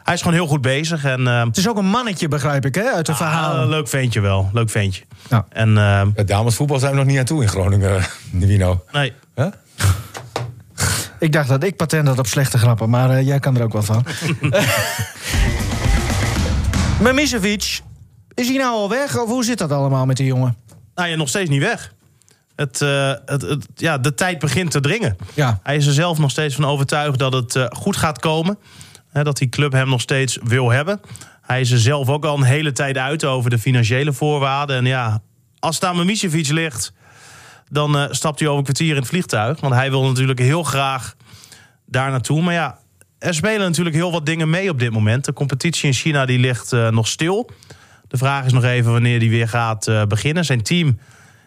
D: hij is gewoon heel goed bezig. En eh,
B: Het is ook een mannetje, begrijp ik, hè, uit Nou, de
D: ah,
B: verhalen.
D: leuk ventje wel. Leuk ventje.
B: Ja.
D: En eh,
C: Het damesvoetbal zijn we nog niet aan toe in Groningen, Nivino.
D: nee,
C: Huh?
B: Ik dacht dat ik patent had op slechte grappen, maar eh, jij kan er ook wel van. Memisevic, is hij nou al weg? Of hoe zit dat allemaal met die jongen?
D: nou ja, nog steeds niet weg. Het, eh, het, het, ja, de tijd begint te dringen.
B: Ja.
D: Hij is er zelf nog steeds van overtuigd dat het eh, goed gaat komen. Hè, dat die club hem nog steeds wil hebben. Hij is er zelf ook al een hele tijd uit over de financiële voorwaarden. En ja, als daar Mimicevic ligt, dan eh, stapt hij over een kwartier in het vliegtuig. Want hij wil natuurlijk heel graag daar naartoe. Maar ja, er spelen natuurlijk heel wat dingen mee op dit moment. De competitie in China die ligt eh, nog stil. De vraag is nog even wanneer die weer gaat eh, beginnen. Zijn team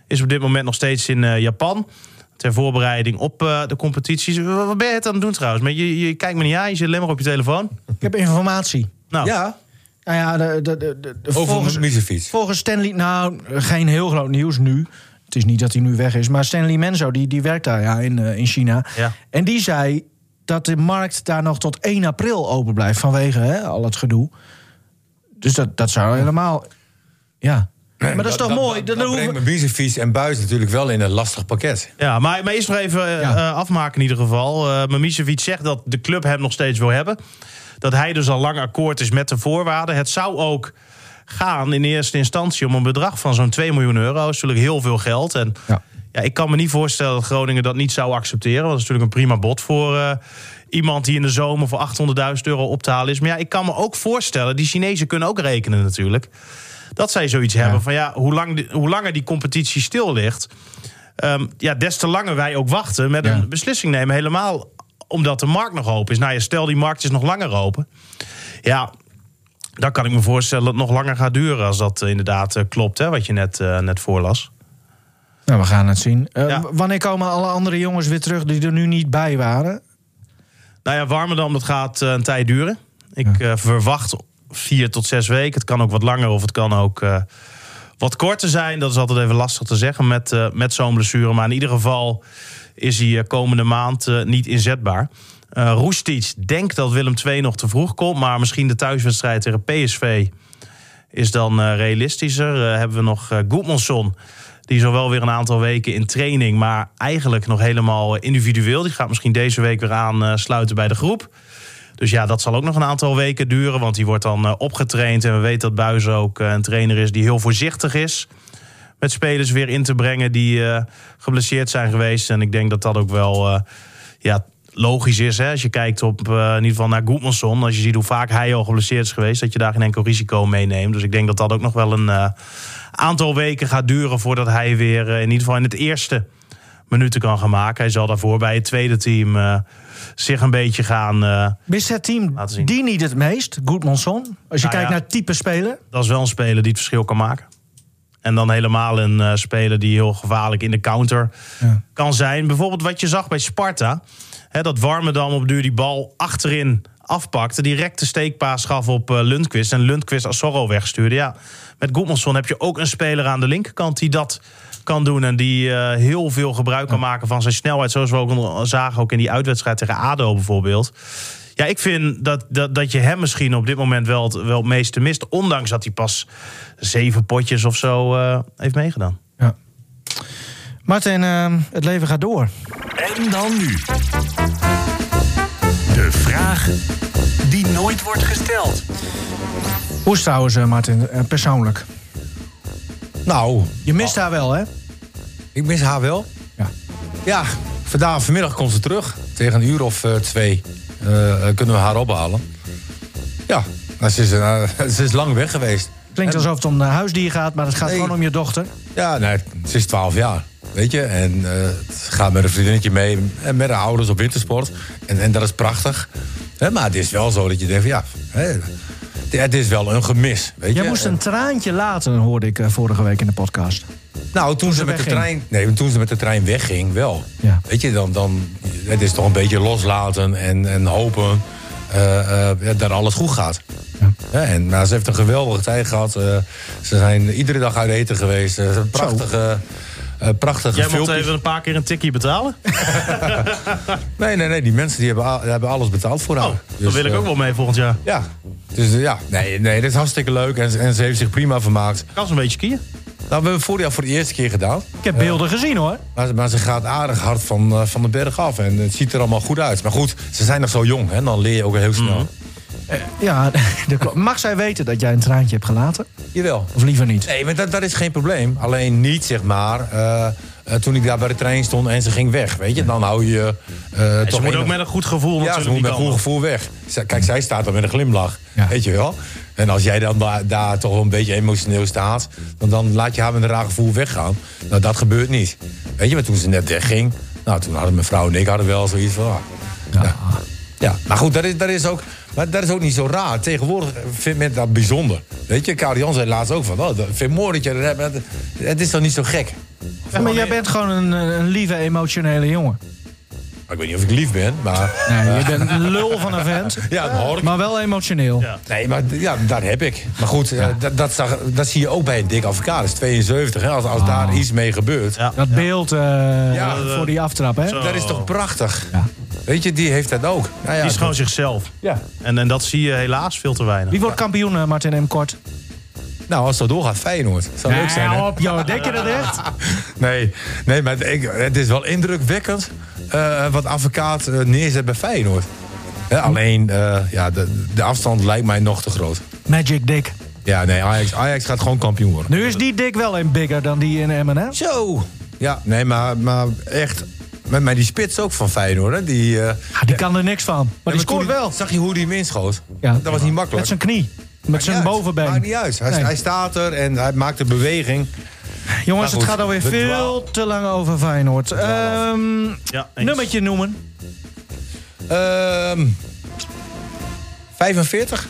D: is op dit moment nog steeds in eh, Japan. Ter voorbereiding op eh, de competities. Wa- Wat ben je het aan het doen trouwens? Maar je, je kijkt me niet aan, je zit alleen maar op je telefoon.
B: Ik heb informatie.
D: Nou,
C: Ja,
B: Nou ja, de, de, de, de- de-
C: over
B: volgens,
C: volgens... Misefiets.
B: volgens Stanley... Nou, geen heel groot nieuws nu. Het is niet dat hij nu weg is. Maar Stanley Menzo, die, die werkt daar ja, in, eh, in China.
D: Ja.
B: En die zei dat de markt daar nog tot 1 april open blijft... vanwege hè, al het gedoe. Dus dat, dat zou helemaal... Ja. maar dat is toch mooi?
C: Dat,
B: Dan
C: dat
B: hoeven-
C: brengt Misefiets en Buis natuurlijk wel in een lastig pakket.
D: Ja, maar, maar eerst nog even eh,
B: Ja.
D: eh, afmaken in ieder geval. Eh Mimicevic zegt dat de club hem nog steeds wil hebben. Dat hij dus al lang akkoord is met de voorwaarden. Het zou ook gaan in eerste instantie om een bedrag van zo'n 2 miljoen euro. Dat is natuurlijk heel veel geld. En
B: Ja.
D: ja. ik kan me niet voorstellen dat Groningen dat niet zou accepteren. Want dat is natuurlijk een prima bod voor eh, iemand die in de zomer voor 800.000 euro op te halen is. Maar ja, ik kan me ook voorstellen, die Chinezen kunnen ook rekenen natuurlijk. Dat zij zoiets hebben van ja, hoe, lang die- hoe langer die competitie stil ligt... Ehm, ja, des te langer wij ook wachten met een beslissing nemen. Helemaal omdat de markt nog open is. Nou ja, stel die markt is nog langer open. Ja, dan kan ik me voorstellen dat het nog langer gaat duren... als dat eh, inderdaad eh, klopt, hè, wat je net, eh, net voorlas.
B: Nou, we gaan het zien. Eh,
D: Ja.
B: w- Wanneer komen alle andere jongens weer terug die er nu niet bij waren?
D: Nou ja, Warmerdam, dat gaat eh, een tijd duren. Ik eh, verwacht vier tot zes weken. Het kan ook wat langer of het kan ook eh, wat korter zijn. Dat is altijd even lastig te zeggen met, eh, met zo'n blessure. Maar in ieder geval is hij eh, komende maand eh, niet inzetbaar. Eh Roestic denkt dat Willem II nog te vroeg komt. Maar misschien de thuiswedstrijd tegen PSV is dan eh, realistischer. Eh, hebben we nog eh Goedmanson. Die is al wel weer een aantal weken in training, maar eigenlijk nog helemaal eh, individueel. Die gaat misschien deze week weer aansluiten bij de groep. Dus ja, dat zal ook nog een aantal weken duren, want die wordt dan eh, opgetraind. En we weten dat Buijs ook eh, een trainer is die heel voorzichtig is met spelers weer in te brengen die eh, geblesseerd zijn geweest. En ik denk dat dat ook wel eh, ja, logisch is. Hè? Als je kijkt op, eh, in ieder geval naar Goedmanson, als je ziet hoe vaak hij al geblesseerd is geweest, dat je daar geen enkel risico meeneemt. Dus ik denk dat dat ook nog wel een eh, aantal weken gaat duren voordat hij weer eh, in ieder geval in het eerste minuten kan gaan maken. Hij zal daarvoor bij het tweede team eh, zich een beetje gaan... eh,
B: Mist het team
D: Laten zien.
B: die niet het meest? Goodmanson. Als je
D: Nou
B: kijkt
D: ja.
B: naar type speler.
D: dat is wel een speler die het verschil kan maken. En dan helemaal een eh, speler die heel gevaarlijk in de counter
B: Ja.
D: kan zijn. Bijvoorbeeld wat je zag bij Sparta. Hè, dat Warmerdam op duur die bal achterin afpakte. Direct de steekpaas gaf op eh, Lundqvist. En Lundqvist Asoro wegstuurde. Ja, met Goedmanson heb je ook een speler aan de linkerkant die dat kan doen. En die eh, heel veel gebruik kan maken van zijn snelheid. Zoals we ook al zagen ook in die uitwedstrijd tegen ADO bijvoorbeeld. Ja, ik vind dat, dat, dat je hem misschien op dit moment wel het, wel het meeste mist. Ondanks dat hij pas zeven potjes of zo eh, heeft meegedaan.
B: Ja. Martin, ehm, het leven gaat door.
A: En dan nu. De vraag die nooit wordt gesteld.
B: Hoe is het trouwens, eh, Martin, eh, persoonlijk?
C: Nou,
B: Je mist haar wel, hè?
C: ik mis haar wel.
B: Ja.
C: Ja, vandaag vanmiddag komt ze terug. Tegen een uur of eh, twee eh, kunnen we haar ophalen. Ja, nou, ze, is, eh, ze is lang weg geweest.
B: Klinkt alsof het om een huisdier gaat, maar het gaat
C: Nee.
B: gewoon om je dochter.
C: Ja, nee, ze is 12 jaar. Weet je, en eh, ze gaat met een vriendinnetje mee en met haar ouders op wintersport. En, en dat is prachtig. Hè, maar het is wel zo dat je denkt, van, ja, hè, het- het is wel een gemis. Weet
B: Jij
C: je?
B: moest een traantje laten, hoorde ik eh, vorige week in de podcast.
C: Nou, toen ze met de
B: wegging.
C: trein. Nee, toen ze met de trein wegging, wel.
B: Ja.
C: Weet je, dan, dan. Het is toch een beetje loslaten en, en hopen eh, eh, ja, dat alles goed gaat. Ja, en nou, ze heeft een geweldige tijd gehad. eh, ze zijn iedere dag uit eten geweest. Eh, prachtige. eh, prachtige
D: Jij moet
C: filmpjes.
D: even een paar keer een tikkie betalen.
C: Nee, nee, nee. Die mensen die hebben, al- die hebben alles betaald voor haar.
D: Oh,
C: Dus,
D: daar wil ik
C: eh,
D: ook wel mee volgend jaar.
C: Ja. Dus eh, ja, nee, nee, dat is hartstikke leuk. En, ze- en ze heeft zich prima vermaakt.
D: Kan ze een beetje skiën?
C: Nou, we hebben het vorig jaar voor de eerste keer gedaan.
B: Ik heb beelden gezien, hoor.
C: Maar, maar ze gaat aardig hard van, eh, van de berg af. En het ziet er allemaal goed uit. Maar goed, ze zijn nog zo jong. Hè? Dan leer je ook heel snel.
D: Mhm.
B: Ja, dat klopt. Mag zij weten dat jij een traantje hebt gelaten?
C: Jawel.
B: Of liever niet?
C: Nee, maar dat, dat is geen probleem. Alleen niet, zeg maar, eh, eh, toen ik daar bij de trein stond en ze ging weg. Weet je, dan hou je eh,
D: Ze
C: toch
D: moet ook
C: enig-
D: met een goed gevoel
C: ja,
D: natuurlijk
C: ze moet met
D: die
C: een
D: kant
C: goed
D: op.
C: gevoel weg. Z- Kijk, zij staat er met een glimlach.
B: Ja.
C: Weet je wel? En als jij dan da- daar toch wel een beetje emotioneel staat... Dan, dan laat je haar met een raar gevoel weggaan. Nou, dat gebeurt niet. Weet je, maar toen ze net wegging... Nou, toen hadden mijn vrouw en ik hadden wel zoiets van... ah, ja. ja, maar goed, dat is, dat, is ook, maar dat is ook niet zo raar. Tegenwoordig vindt men dat bijzonder. Weet je, Karian zei laatst ook van... Oh, dat vind ik mooi dat je dat hebt. maar Het, het is dan niet zo gek.
B: Ja, maar jij bent gewoon een, een lieve, emotionele jongen.
C: Maar ik weet niet of ik lief ben, maar...
B: Nee, je bent een lul van een vent,
C: Ja, dat hoor ik.
B: maar wel emotioneel.
D: Ja.
C: Nee, maar d- ja, daar heb ik. Maar goed, eh, dat, dat, zag- dat zie je ook bij een dik advocaat. 72, hè? als, als daar iets mee gebeurt.
D: Ah. Ja.
B: Dat beeld eh,
C: Ja.
B: voor die aftrap, hè?
D: Zo.
C: Dat is toch prachtig?
B: Ja.
C: Weet je, die heeft dat ook. Nou ja,
D: Die is gewoon zichzelf.
C: ja.
D: En, en dat zie je helaas veel te weinig.
B: Wie wordt kampioen, eh, Martin M. Kort?
C: Nou, als dat doorgaat, Feyenoord. Zou leuk zijn, hè?
B: Nee, op, joh. Denk je dat echt?
C: Nee, nee maar ik, het is wel indrukwekkend eh, wat advocaat eh, neerzet bij Feyenoord. Hè, alleen, eh, ja, de, de afstand lijkt mij nog te groot.
B: Magic Dick.
C: Ja, nee, Ajax, Ajax gaat gewoon kampioen worden.
B: Nu is die Dick wel een bigger dan die in Emmen, hè?
C: Zo! Ja, nee, maar, maar echt... Met mij die spits ook van Feyenoord, hè? Die, eh,
B: Ah, die kan er niks van. Maar die
C: Ja, maar
B: scoort
C: toen
B: wel.
C: hij- Zag je hoe hij hem inschoot?
B: Ja.
C: Dat was niet makkelijk.
B: Met zijn knie. Met zijn
C: Maakt niet uit.
B: bovenbeen.
C: Maakt niet uit. Hij,
B: Nee.
C: hij staat er en hij maakt de beweging.
B: Jongens,
C: Maar
B: het
C: goed,
B: gaat alweer
C: we
B: veel
C: dwalen.
B: te lang over Feyenoord. Ehm
D: Ja, eens.
B: nummertje noemen.
C: Ehm 45?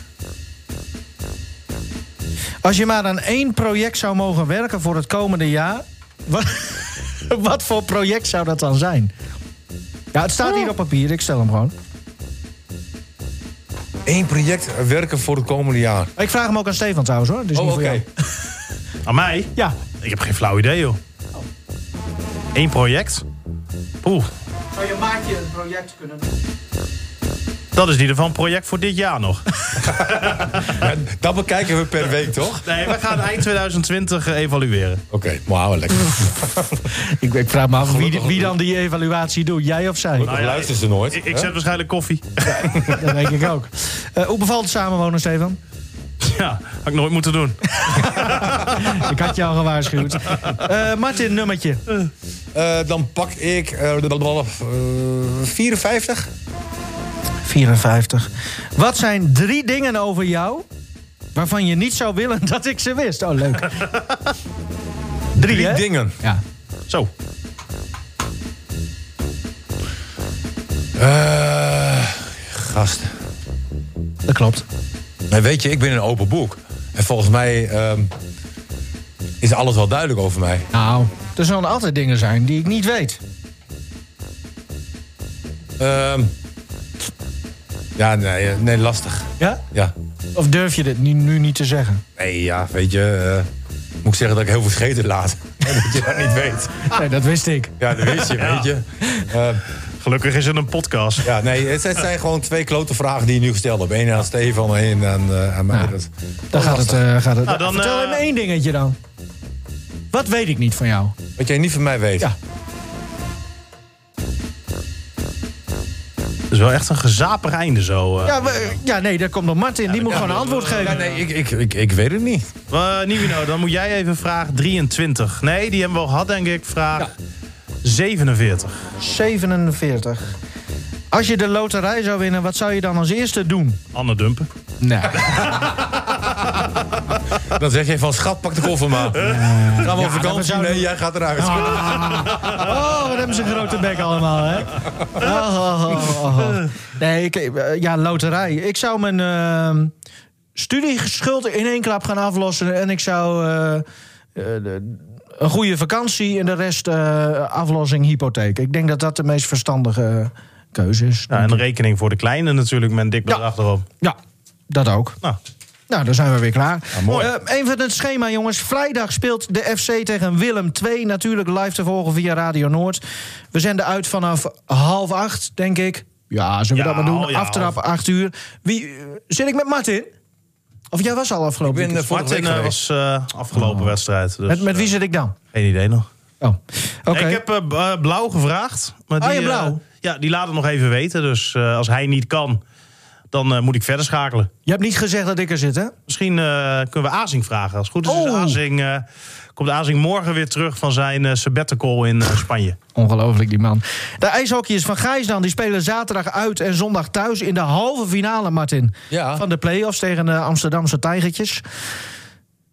B: Als je maar aan één project zou mogen werken voor het komende jaar... Wat, wat voor project zou dat dan zijn? Ja, het staat
C: Oh.
B: hier op papier. Ik stel hem gewoon.
C: Eén project werken voor het komende jaar.
B: Ik vraag hem ook aan Stefan trouwens, hoor. Dus
C: Oh,
B: niet voor
C: oké.
B: jou.
D: Aan mij?
B: Ja,
D: Ik heb geen flauw idee, joh. Eén project? Oeh,
B: Zou je maatje een project kunnen doen?
D: dat is in ieder geval een project voor dit jaar nog.
C: Ja, dat bekijken we per week, toch?
D: Nee, we gaan eind 2020
C: eh,
D: evalueren.
C: Oké, maar houden we
B: Nou
C: lekker.
B: Ik, ik vraag me af wie,
C: Gelukkig
B: wie dan die evaluatie doet. Jij of zij?
C: Nou ja, luisteren ze nooit.
D: Ik, ik
C: hè?
D: zet waarschijnlijk koffie.
B: Dat denk ik ook. Eh, hoe bevalt het samenwonen, Stefan?
D: Ja, had ik nooit moeten doen.
B: Ik had jou al gewaarschuwd. Eh, Martin, nummertje.
C: Eh, dan pak ik eh, eh, 54.
B: 54. Wat zijn drie dingen over jou... waarvan je niet zou willen dat ik ze wist? Oh, leuk. Drie,
C: Drie
B: hè?
C: dingen.
B: Ja.
D: Zo.
C: Eh, gast.
B: Dat klopt.
C: Nou, weet je, ik ben een open boek. En volgens mij ehm, is alles wel duidelijk over mij.
B: Nou, er zullen altijd dingen zijn die ik niet weet.
C: Ehm, ja, nee, eh, nee, lastig.
B: Ja?
C: Ja.
B: Of durf je dit nu, nu niet te zeggen?
C: Nee, ja, weet je. eh, moet ik zeggen dat ik heel veel scheten laat. dat je dat niet weet.
B: Nee, dat wist ik.
C: Ja, dat weet je, weet je. Eh,
D: Gelukkig is het een podcast.
C: ja, nee, het, het zijn gewoon twee klote vragen die je nu gesteld hebt. Eén aan Stefan en één aan, eh, aan mij.
B: Ja.
C: Dat,
B: Dan gaat het. eh, gaat het.
D: Nou, dan,
B: Vertel
D: eh,
B: hem één dingetje dan. Wat weet ik niet van jou?
C: wat jij niet van mij weet.
B: Ja.
D: Het is wel echt een gezapig einde zo. eh.
B: Ja, we- ja nee, daar komt nog Martin. Die moet gewoon een antwoord
C: Ja,
B: geven.
C: nee, ik, ik, ik, ik weet het niet.
D: Eh, Nivino, dan moet jij even vraag 23. Nee, die hebben we al gehad, denk ik. Vraag 47.
B: 47. Als je de loterij zou winnen, wat zou je dan als eerste doen?
D: Anne Dumpen.
B: Nee.
C: Dan zeg je van, schat, pak de koffer maar. Gaan we
B: ja,
C: op
B: dat
C: vakantie?
B: zou-
C: Nee, jij gaat eruit.
B: Oh, wat hebben ze een grote bek allemaal, hè? Oh, oh, oh, oh. Nee, ik, eh, ja, loterij. Ik zou mijn ehm studieschuld in één klap gaan aflossen. En ik zou eh, eh, de- een goede vakantie en de rest eh, aflossing hypotheek. Ik denk dat dat de meest verstandige keuze is.
D: Ja, en een rekening voor de kleine natuurlijk met een dik bedrag erop.
B: Ja, dat ook.
D: Nou,
B: Nou, dan zijn we weer klaar.
D: Ah,
C: mooi.
B: Eh, even het schema, jongens. Vrijdag speelt de FC tegen Willem 2. Natuurlijk live te volgen via Radio Noord. We zenden uit vanaf half acht, denk ik. Ja, zullen we
D: Ja, oh
B: dat maar doen?
D: ja,
B: Aftrap, acht uur. Wie, eh, zit ik met Martin? Of jij was al afgelopen
C: Ik ben,
B: weekend?
C: eh, Vorige
D: Martin
C: week
D: eh, was eh, afgelopen wedstrijd. Dus,
B: Oh. met, met wie zit ik dan?
D: eh, geen idee nog.
B: Oh, oké.
D: Ik heb eh, b- eh, Blauw gevraagd. Maar
B: Oh,
D: die,
B: ja, Blauw.
D: eh, ja, die laat het nog even weten. Dus eh, als hij niet kan, dan eh, moet ik verder schakelen.
B: Je hebt niet gezegd dat ik er zit, hè?
D: Misschien eh, kunnen we Azing vragen. Als het goed is, is
B: Oh.
D: Azing, eh, komt Azing morgen weer terug van zijn eh sabbatical in eh, Spanje.
B: Ongelooflijk, die man. De ijshockeyers van Gijsland die spelen zaterdag uit en zondag thuis... in de halve finale, Martin,
C: Ja.
B: van de play-offs tegen de Amsterdamse Tijgertjes.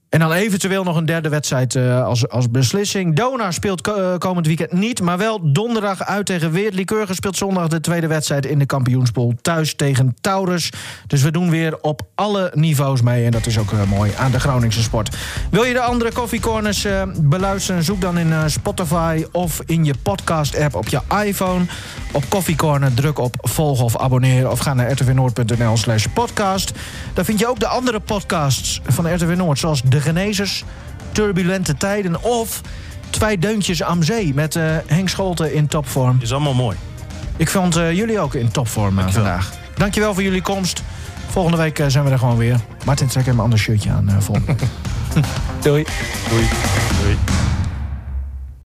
B: En dan eventueel nog een derde wedstrijd eh, als, als beslissing. Donar speelt ko- eh, komend weekend niet, maar wel donderdag uit tegen Weert. Liekeurgen speelt zondag de tweede wedstrijd in de kampioenspool. Thuis tegen Taurus. Dus we doen weer op alle niveaus mee. En dat is ook eh, mooi aan de Groningse sport. Wil je de andere koffiecorners eh, beluisteren? Zoek dan in eh, Spotify of in je podcast-app op je iPhone. Op Coffee Corner druk op volgen of abonneren. Of ga naar rtvnoord.nl slash podcast. Daar vind je ook de andere podcasts van RTV Noord. Zoals De Genezers, Turbulente Tijden of... Twee deuntjes aan zee met eh, Henk Scholten in topvorm.
D: Is allemaal mooi.
B: Ik vond eh, jullie ook in topvorm eh, vandaag. Dankjewel voor jullie komst. Volgende week eh, zijn we er gewoon weer. Martin, trek hem een ander shirtje aan eh volgende week.
C: Doei.